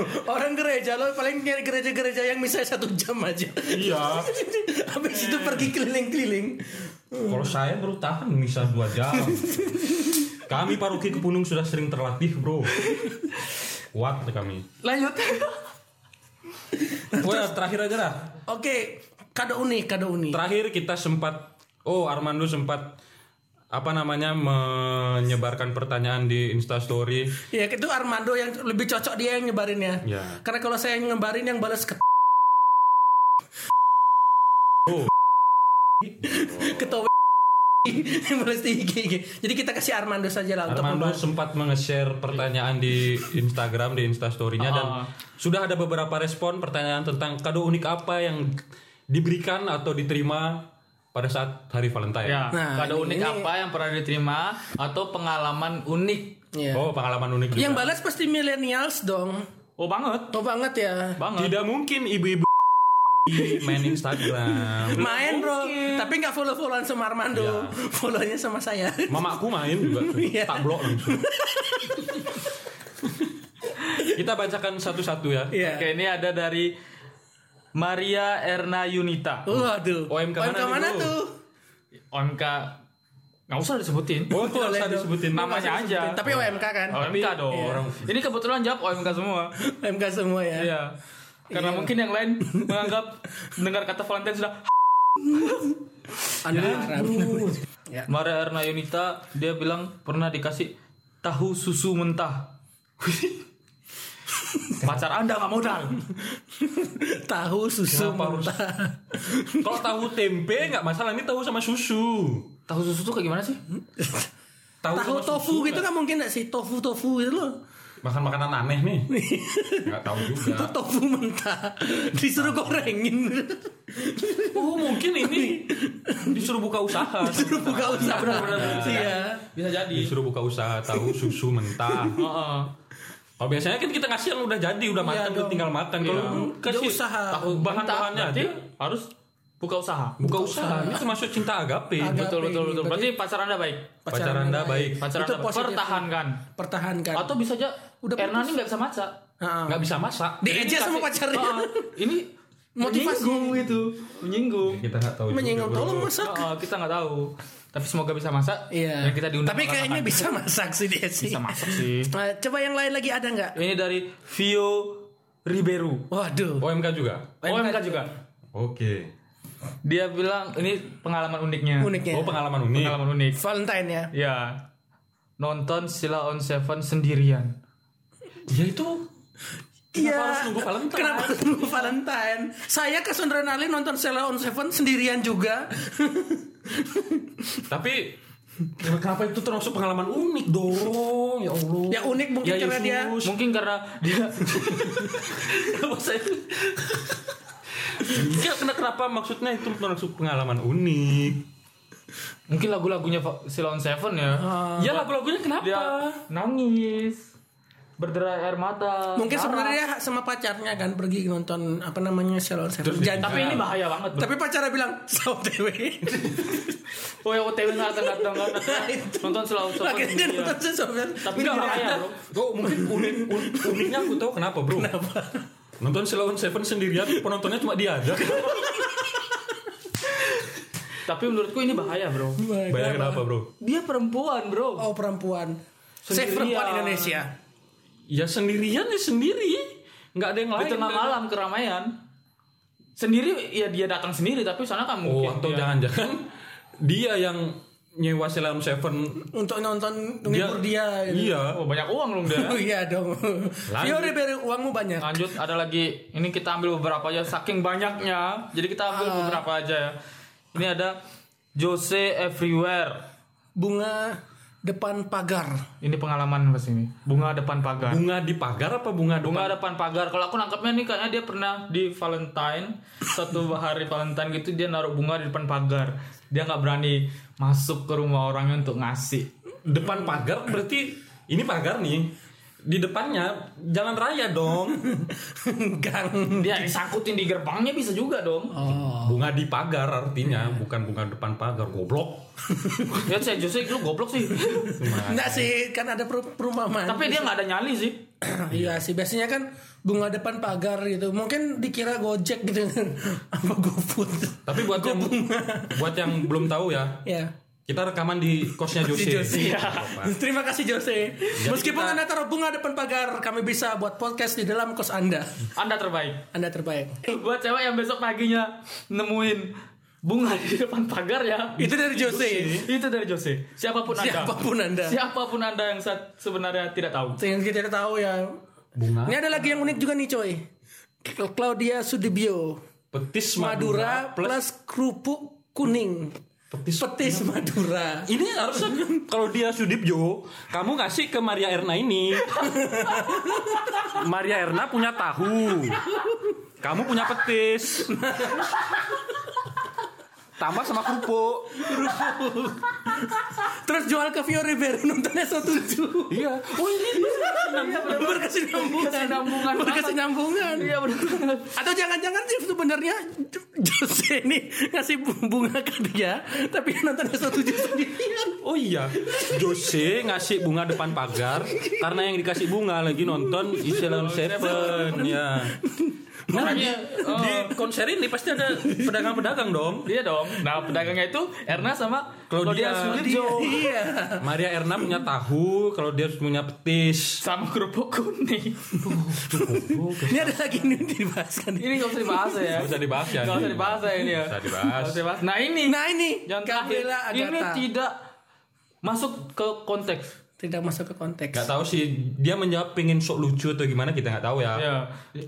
[SPEAKER 2] Orang gereja lo paling nyari gereja-gereja yang misalnya satu jam aja.
[SPEAKER 3] iya
[SPEAKER 2] Habis itu pergi keliling-keliling.
[SPEAKER 3] kalau saya baru tahan bisa dua jam kami paroki kepunung sudah sering terlatih bro kuat kami
[SPEAKER 4] Lanjut.
[SPEAKER 3] oh ya, terakhir aja lah
[SPEAKER 2] Oke, kado unik, kado unik.
[SPEAKER 3] terakhir kita sempat oh Armando sempat apa namanya menyebarkan pertanyaan di instastory
[SPEAKER 2] Ya itu Armando yang lebih cocok dia yang nyebarinnya.
[SPEAKER 3] Ya.
[SPEAKER 2] Karena kalau saya yang nyebarin yang balas ke
[SPEAKER 3] Oh.
[SPEAKER 2] ketawa yang balas di IG. Jadi kita kasih Armando saja lah untuk
[SPEAKER 3] Armando
[SPEAKER 2] membahas.
[SPEAKER 3] sempat nge-share pertanyaan di Instagram di instastorynya dan
[SPEAKER 4] Ah.
[SPEAKER 3] sudah ada beberapa respon pertanyaan tentang kado unik apa yang diberikan atau diterima pada saat hari Valentine
[SPEAKER 4] Ya,
[SPEAKER 2] Nah,
[SPEAKER 4] kado
[SPEAKER 2] ini-
[SPEAKER 4] unik
[SPEAKER 2] ini-
[SPEAKER 4] apa yang pernah diterima atau pengalaman unik?
[SPEAKER 2] Ya.
[SPEAKER 3] oh pengalaman unik juga.
[SPEAKER 2] Yang balas pasti millennials dong.
[SPEAKER 4] Oh banget,
[SPEAKER 2] Tuh banget ya.
[SPEAKER 4] banget.
[SPEAKER 3] Tidak mungkin ibu-ibu main Instagram.
[SPEAKER 2] Main bro, tapi nggak follow followan sama Armando,
[SPEAKER 3] Iya.
[SPEAKER 2] follownya sama saya.
[SPEAKER 3] Mamaku main juga, tuh.
[SPEAKER 2] Iya.
[SPEAKER 3] tak blok langsung. Kita bacakan satu-satu ya.
[SPEAKER 2] Iya.
[SPEAKER 4] Oke, ini ada dari Maria Erna Yunita.
[SPEAKER 2] Waduh.
[SPEAKER 3] OMK mana nih, Bro?
[SPEAKER 2] tuh?
[SPEAKER 4] OMK nggak usah disebutin.
[SPEAKER 3] Oh, tidak
[SPEAKER 2] Boleh
[SPEAKER 3] usah
[SPEAKER 2] dong.
[SPEAKER 3] disebutin Oh,
[SPEAKER 4] Namanya aja.
[SPEAKER 2] Tapi OMK kan.
[SPEAKER 4] OMK dong.
[SPEAKER 3] Orang
[SPEAKER 4] Ini kebetulan jawab OMK semua.
[SPEAKER 2] OMK semua ya.
[SPEAKER 4] Iya. Karena
[SPEAKER 2] Iya.
[SPEAKER 4] mungkin yang lain menganggap dengar kata Valentine sudah
[SPEAKER 2] Anda Arab. Ya.
[SPEAKER 4] Maria Erna Yunita dia bilang pernah dikasih tahu susu mentah. Pacar Anda nggak modal.
[SPEAKER 2] Tahu susu
[SPEAKER 3] Kenapa harus-
[SPEAKER 2] mentah.
[SPEAKER 3] Kalau tahu tempe nggak masalah, ini tahu sama susu.
[SPEAKER 4] Tahu
[SPEAKER 2] Hmm?
[SPEAKER 4] susu tuh kayak gimana sih?
[SPEAKER 3] Tahu
[SPEAKER 2] Tahu
[SPEAKER 3] sama
[SPEAKER 2] tofu
[SPEAKER 3] susu
[SPEAKER 2] gitu kan mungkin nggak sih? Tofu tofu gitu loh.
[SPEAKER 3] makan makanan aneh nih
[SPEAKER 2] Iya.
[SPEAKER 3] nggak tahu
[SPEAKER 2] Itu
[SPEAKER 3] juga
[SPEAKER 2] tofu mentah disuruh gorengin.
[SPEAKER 3] oh mungkin ini disuruh buka usaha
[SPEAKER 2] disuruh buka usaha. Iya.
[SPEAKER 4] bisa jadi
[SPEAKER 3] disuruh buka usaha tahu susu mentah
[SPEAKER 4] Heeh.
[SPEAKER 3] kalau biasanya kan kita kasih yang udah jadi udah matang
[SPEAKER 2] Iya dong.
[SPEAKER 3] tinggal matang kalau
[SPEAKER 4] Iya.
[SPEAKER 3] lu kasih
[SPEAKER 2] Dia usaha.
[SPEAKER 3] tahu bahan bahannya aja
[SPEAKER 4] harus buka usaha
[SPEAKER 3] buka usaha ini termasuk cinta agape
[SPEAKER 2] Agape.
[SPEAKER 4] betul betul betul berarti pacar anda baik
[SPEAKER 3] pacar anda baik
[SPEAKER 4] pacar
[SPEAKER 2] Itu
[SPEAKER 4] anda
[SPEAKER 2] positif.
[SPEAKER 4] pertahankan
[SPEAKER 2] Pertahankan.
[SPEAKER 4] atau bisa aja
[SPEAKER 2] Udah
[SPEAKER 4] Erna
[SPEAKER 2] putus.
[SPEAKER 4] ini nggak bisa maca
[SPEAKER 2] Heeh.
[SPEAKER 3] nggak bisa masak
[SPEAKER 2] Diejek sama
[SPEAKER 4] Heeh.
[SPEAKER 2] pacarnya.
[SPEAKER 4] ini
[SPEAKER 2] Motivasi.
[SPEAKER 4] menyinggung itu menyinggung
[SPEAKER 3] kita nggak tahu juga,
[SPEAKER 2] Menyinggung
[SPEAKER 3] bro.
[SPEAKER 2] tolong masak.
[SPEAKER 4] Heeh, kita nggak tahu tapi semoga bisa masak
[SPEAKER 2] Iya.
[SPEAKER 4] dan kita diundang
[SPEAKER 2] Tapi kayaknya
[SPEAKER 4] makan-makan.
[SPEAKER 2] bisa masak sih dia sih.
[SPEAKER 4] bisa masak Iya. sih
[SPEAKER 2] Eh, coba yang lain lagi ada nggak?
[SPEAKER 4] ini dari Vio Ribeiro
[SPEAKER 2] Waduh.
[SPEAKER 3] OMK juga
[SPEAKER 4] OMK juga
[SPEAKER 3] oke
[SPEAKER 4] dia bilang ini pengalaman uniknya
[SPEAKER 2] Uniknya.
[SPEAKER 3] oh pengalaman unik
[SPEAKER 4] pengalaman unik
[SPEAKER 2] Valentine ya.
[SPEAKER 4] ya nonton Sila on Seven sendirian
[SPEAKER 3] ya itu
[SPEAKER 2] Iya.
[SPEAKER 3] harus nunggu Valentine?
[SPEAKER 2] Kenapa harus nunggu Valentine? Saya ke Sundren Ali nonton Sela on Seven sendirian juga.
[SPEAKER 3] tapi ya, kenapa itu termasuk pengalaman unik dong ya Allah
[SPEAKER 2] ya unik mungkin
[SPEAKER 3] Ya,
[SPEAKER 2] karena dia
[SPEAKER 3] Yesus.
[SPEAKER 4] mungkin karena dia
[SPEAKER 3] Kenapa saya- Ya, kena- kenapa maksudnya itu termasuk pengalaman unik
[SPEAKER 4] mungkin lagu-lagunya Fa- Sila on Seven ya
[SPEAKER 3] ya lagu-lagunya kenapa
[SPEAKER 4] dia nangis berderai air mata
[SPEAKER 2] mungkin
[SPEAKER 4] marah.
[SPEAKER 2] sebenarnya dia sama pacarnya kan pergi nonton apa namanya Sela on Seven.
[SPEAKER 3] Terus dia-
[SPEAKER 2] Jadi-
[SPEAKER 4] tapi ini bahaya banget bro.
[SPEAKER 2] tapi pacarnya bilang saw dewe.
[SPEAKER 4] oh ya OTW nggak datang datang kan nonton Sila on Seven
[SPEAKER 2] Akhirnya dia
[SPEAKER 4] sendirian.
[SPEAKER 2] nonton Sela on Seven.
[SPEAKER 4] iya.
[SPEAKER 2] kan?
[SPEAKER 4] tapi
[SPEAKER 2] Sendirian.
[SPEAKER 4] nggak bahaya bro
[SPEAKER 3] Tuh Oh, mungkin unik, un- uniknya aku tahu kenapa bro Nonton Silon Seven sendirian penontonnya cuma dia aja
[SPEAKER 4] tapi menurutku ini bahaya bro
[SPEAKER 3] Bayangin kenapa bro
[SPEAKER 4] dia perempuan bro
[SPEAKER 2] Oh perempuan. Save
[SPEAKER 4] Sendirian.
[SPEAKER 2] perempuan Indonesia.
[SPEAKER 3] Ya sendirian ya sendiri nggak ada yang lain kan?
[SPEAKER 4] di tengah malam keramaian sendiri ya dia datang sendiri tapi sana kan
[SPEAKER 3] Oh
[SPEAKER 4] mungkin
[SPEAKER 3] atau
[SPEAKER 4] dia-
[SPEAKER 3] jangan-jangan Dia yang nyewa Silon Seven
[SPEAKER 2] Untuk nonton menghibur dia. gitu.
[SPEAKER 3] Iya
[SPEAKER 4] oh banyak uang dong dia
[SPEAKER 2] Oh iya dong. Fiore beri uangmu banyak.
[SPEAKER 4] lanjut ada lagi ini kita ambil beberapa aja saking banyaknya jadi kita ambil
[SPEAKER 3] Ah.
[SPEAKER 4] beberapa aja ya ini ada Jose Everywhere
[SPEAKER 2] Bunga depan pagar.
[SPEAKER 4] ini pengalaman pas ini bunga depan pagar
[SPEAKER 3] Iya. Bunga di pagar apa bunga depan?
[SPEAKER 4] bunga depan pagar kalau aku nangkapnya nih kayaknya dia pernah di Valentine satu hari Valentine gitu dia naruh bunga di depan pagar dia nggak berani masuk ke rumah orangnya untuk ngasih
[SPEAKER 3] Depan pagar berarti ini pagar nih. Di depannya jalan raya dong.
[SPEAKER 2] Gang.
[SPEAKER 4] dia disangkutin di gerbangnya bisa juga dong
[SPEAKER 2] Oh.
[SPEAKER 3] Bunga di pagar artinya bukan bunga depan pagar goblok.
[SPEAKER 4] ya saya Jose lu goblok sih
[SPEAKER 2] Enggak sih, kan ada per- perumpamaan.
[SPEAKER 4] tapi dia nggak ada nyali sih
[SPEAKER 2] iya sih, biasanya kan bunga depan pagar gitu. Mungkin dikira Gojek gitu apa GoFood.
[SPEAKER 3] Tapi buat yang buat yang belum tahu ya,
[SPEAKER 2] Ya.
[SPEAKER 3] kita rekaman di kosnya
[SPEAKER 2] Si
[SPEAKER 3] Jose.
[SPEAKER 2] Jose.
[SPEAKER 3] Iya.
[SPEAKER 2] Terima kasih Jose. Meskipun
[SPEAKER 3] kita-
[SPEAKER 2] Anda taruh bunga depan pagar, kami bisa buat podcast di dalam kos Anda.
[SPEAKER 4] anda terbaik
[SPEAKER 2] Anda terbaik.
[SPEAKER 4] buat cewek yang besok paginya nemuin bunga di depan pagar ya
[SPEAKER 2] Itu dari Jose.
[SPEAKER 4] itu dari Jose siapapun anda
[SPEAKER 2] Siapapun Anda.
[SPEAKER 4] siapapun anda yang saat sebenarnya tidak tahu
[SPEAKER 2] Yang kita tidak tahu ya.
[SPEAKER 3] Bunga
[SPEAKER 2] Ini ada lagi yang unik juga nih coy. Claudia Sudibyo.
[SPEAKER 3] petis
[SPEAKER 2] Madura
[SPEAKER 3] Madura,
[SPEAKER 2] plus kerupuk kuning.
[SPEAKER 3] petis.
[SPEAKER 2] Petis Madura.
[SPEAKER 3] Ini harusnya kalau dia Sudibyo, kamu ngasih ke Maria Erna ini. Maria Erna punya tahu. Kamu punya petis. Tambah sama kerupuk.
[SPEAKER 2] Terus jual ke Fiore Bear nontonnya 17.
[SPEAKER 3] Iya. Oh ini
[SPEAKER 4] iya,
[SPEAKER 2] Berkesinambungan.
[SPEAKER 4] Berkesinambungan.
[SPEAKER 2] Berkesinambungan.
[SPEAKER 4] iya benar
[SPEAKER 2] Atau jangan-jangan sih sebenarnya Jose ini ngasih bunga ke dia, tapi dia nontonnya 17 sendirian.
[SPEAKER 3] Oh iya, Jose ngasih bunga depan pagar karena yang dikasih bunga lagi nonton Island Seven ya. Nah, di, di konser ini pasti ada pedagang-pedagang dong.
[SPEAKER 4] dia dong nah pedagangnya itu Erna sama
[SPEAKER 3] Claudia.
[SPEAKER 4] Claudia, Sulitjo
[SPEAKER 2] Iya.
[SPEAKER 3] Maria Erna punya tahu, kalau dia punya petis.
[SPEAKER 4] sama kerupuk kuning
[SPEAKER 2] Ini ada lagi nih dibahaskan.
[SPEAKER 4] ini nggak usah dibahas ya
[SPEAKER 3] Nggak usah dibahas ya.
[SPEAKER 4] nggak usah dibahas ya ini ya
[SPEAKER 3] Nggak usah dibahas.
[SPEAKER 4] Nggak usah dibahas nah ini
[SPEAKER 2] Nah ini
[SPEAKER 4] yang terakhir
[SPEAKER 2] Gabriela
[SPEAKER 4] ini
[SPEAKER 2] Agatha
[SPEAKER 4] tidak masuk ke konteks
[SPEAKER 2] tidak masuk ke konteks.
[SPEAKER 3] Gak tahu sih dia menjawab pengen sok lucu atau gimana kita nggak tahu ya.
[SPEAKER 4] Iya.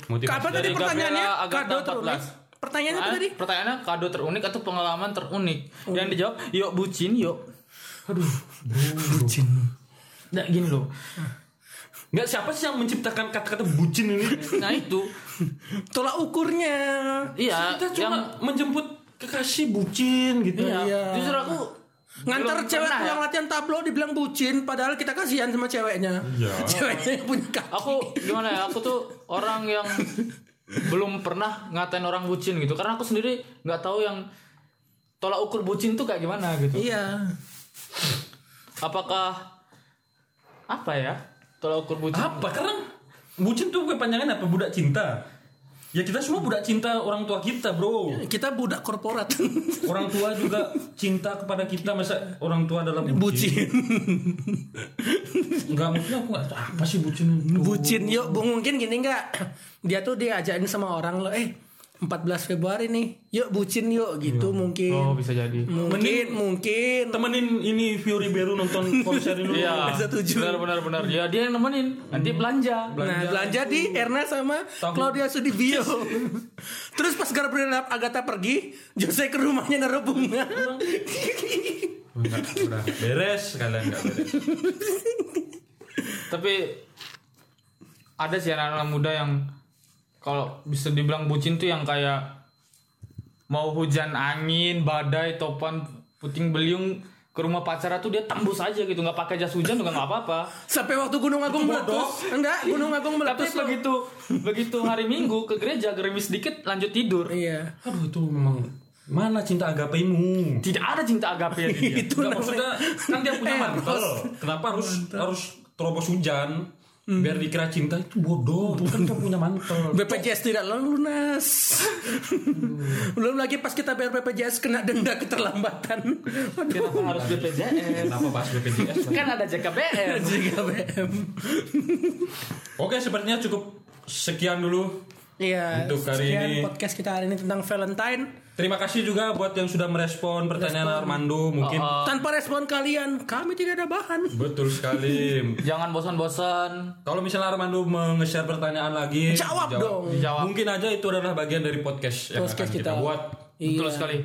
[SPEAKER 3] Motivasi
[SPEAKER 2] Apa tadi
[SPEAKER 3] dari-
[SPEAKER 2] pertanyaannya?
[SPEAKER 4] Gabriela Agatha
[SPEAKER 2] Kado terunik.
[SPEAKER 4] 14.
[SPEAKER 2] Pertanyaannya apa
[SPEAKER 4] Ah,
[SPEAKER 2] tadi?
[SPEAKER 4] Pertanyaannya kado terunik atau pengalaman terunik? Yang dijawab, yuk bucin, yuk. Aduh, bucin. Nah, gini loh.
[SPEAKER 3] Nggak siapa sih yang menciptakan kata-kata bucin ini?
[SPEAKER 4] Nah itu
[SPEAKER 2] Tolak ukurnya.
[SPEAKER 4] Iya
[SPEAKER 3] Kita cuma
[SPEAKER 4] yang
[SPEAKER 3] menjemput kekasih bucin gitu.
[SPEAKER 4] iya.
[SPEAKER 2] Iya.
[SPEAKER 4] Justru aku
[SPEAKER 2] Ngantar
[SPEAKER 4] belum
[SPEAKER 2] cewek
[SPEAKER 4] pernah ya.
[SPEAKER 2] pulang latihan tablo dibilang bucin padahal kita kasihan sama ceweknya.
[SPEAKER 3] Iya.
[SPEAKER 2] Ceweknya yang punya kaki.
[SPEAKER 4] Aku gimana ya Aku tuh orang yang Belum pernah ngatain orang bucin gitu Karena aku sendiri nggak tahu yang Tolak ukur bucin tuh kayak gimana gitu
[SPEAKER 2] Iya.
[SPEAKER 4] Apakah Apa ya Tolak ukur bucin
[SPEAKER 3] Apa? Karena bucin tuh bukan panjangan apa budak cinta. Ya kita semua budak cinta orang tua kita, Bro.
[SPEAKER 2] Kita budak korporat.
[SPEAKER 3] Orang tua juga cinta kepada kita masa orang tua adalah bucin.
[SPEAKER 2] bucin.
[SPEAKER 3] Enggak mungkin aku nggak tahu apa sih bucin.
[SPEAKER 2] bucin yuk Bu, mungkin gini nggak dia tuh diajakin sama orang lo eh 14 Februari nih yuk bucin yuk gitu
[SPEAKER 3] Iya.
[SPEAKER 2] mungkin
[SPEAKER 4] Oh bisa jadi
[SPEAKER 2] mungkin mungkin
[SPEAKER 3] Temenin ini Fiori Beru nonton konser dulu.
[SPEAKER 4] Iya
[SPEAKER 2] Setuju.
[SPEAKER 4] Benar benar benar Ya dia yang nemenin Nanti belanja
[SPEAKER 2] nah belanja di Erna sama Claudia Sudibyo terus pas Gabriela Agatha pergi Jose ke rumahnya naruh bunga
[SPEAKER 3] Enggak, udah beres kalian enggak beres.
[SPEAKER 4] Tapi ada sih anak-anak muda yang kalau bisa dibilang bucin tuh yang kayak mau hujan angin, badai, topan, puting beliung ke rumah pacara tuh dia tembus aja gitu nggak pakai jas hujan juga nggak apa-apa.
[SPEAKER 2] sampai waktu Gunung Agung meletus enggak Gunung Agung
[SPEAKER 4] Tapi
[SPEAKER 2] meletus lo.
[SPEAKER 4] begitu begitu hari Minggu ke gereja gerimis dikit lanjut tidur.
[SPEAKER 2] iya
[SPEAKER 3] Aduh itu memang mana cinta agapemu?
[SPEAKER 4] Tidak ada cinta agape di dia.
[SPEAKER 2] itu
[SPEAKER 3] Nggak, maksudnya
[SPEAKER 2] namanya
[SPEAKER 3] kan dia punya
[SPEAKER 2] Eh,
[SPEAKER 3] mantel. Kenapa harus harus terobos hujan? Biar dikira cinta itu bodoh. Kan dia punya mantel.
[SPEAKER 2] BPJS tidak lunas. Belum lagi pas kita bayar BPJS kena denda keterlambatan. Aduh.
[SPEAKER 4] Kenapa harus BPJS?
[SPEAKER 3] Kenapa bahas BPJS?
[SPEAKER 4] Kan ada JKBN.
[SPEAKER 2] JKBM.
[SPEAKER 3] Oke, sepertinya cukup sekian dulu.
[SPEAKER 2] Iya.
[SPEAKER 3] Untuk hari
[SPEAKER 2] sekian
[SPEAKER 3] ini.
[SPEAKER 2] podcast kita hari ini tentang Valentine.
[SPEAKER 3] Terima kasih juga buat yang sudah merespon pertanyaan Armando mungkin.
[SPEAKER 2] Tanpa respon kalian, kami tidak ada bahan.
[SPEAKER 3] Betul sekali.
[SPEAKER 4] Jangan bosan-bosan.
[SPEAKER 3] Kalau misalnya Armando meng-share pertanyaan lagi,
[SPEAKER 2] Jawab
[SPEAKER 3] dijawab.
[SPEAKER 2] dong.
[SPEAKER 4] Dijawab.
[SPEAKER 3] Mungkin aja itu adalah bagian dari podcast yang
[SPEAKER 2] Podcast
[SPEAKER 3] akan kita,
[SPEAKER 2] kita.
[SPEAKER 3] buat.
[SPEAKER 4] Betul
[SPEAKER 2] Iya.
[SPEAKER 4] sekali.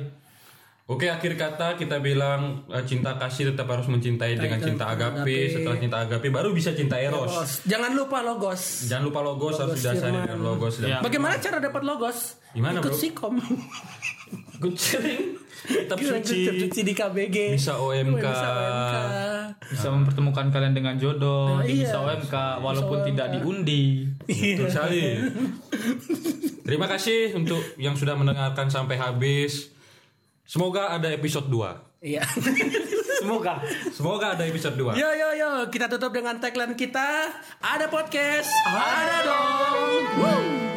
[SPEAKER 3] Oke, akhir kata kita bilang eh, cinta kasih tetap harus mencintai dengan
[SPEAKER 2] Tetap
[SPEAKER 3] cinta
[SPEAKER 2] agape.
[SPEAKER 3] agape. Setelah cinta agape baru bisa cinta eros.
[SPEAKER 2] Logos. Jangan lupa logos.
[SPEAKER 3] Jangan lupa logos, harus didasari
[SPEAKER 2] firman.
[SPEAKER 3] dengan logos dan
[SPEAKER 4] Ya.
[SPEAKER 2] Bagaimana cara dapat logos?
[SPEAKER 3] Gimana,
[SPEAKER 2] Ikut
[SPEAKER 3] Bro?
[SPEAKER 2] sikom.
[SPEAKER 3] good sharing. Kitab
[SPEAKER 2] Ikut
[SPEAKER 3] suci.
[SPEAKER 2] suci di KBG.
[SPEAKER 3] Bisa OMK.
[SPEAKER 2] Bisa OMK.
[SPEAKER 4] bisa mempertemukan kalian dengan jodoh
[SPEAKER 2] Nah,
[SPEAKER 4] di
[SPEAKER 2] iya.
[SPEAKER 4] bisa OMK walaupun
[SPEAKER 2] Bisa
[SPEAKER 4] tidak
[SPEAKER 2] OMK.
[SPEAKER 4] diundi
[SPEAKER 3] Betul sekali. Terima kasih untuk yang sudah mendengarkan sampai habis. Semoga ada episode 2.
[SPEAKER 2] Iya.
[SPEAKER 4] semoga
[SPEAKER 3] Semoga ada episode 2.
[SPEAKER 2] Yo yo yo, kita tutup dengan tagline kita. Ada podcast, ada dong. Woo.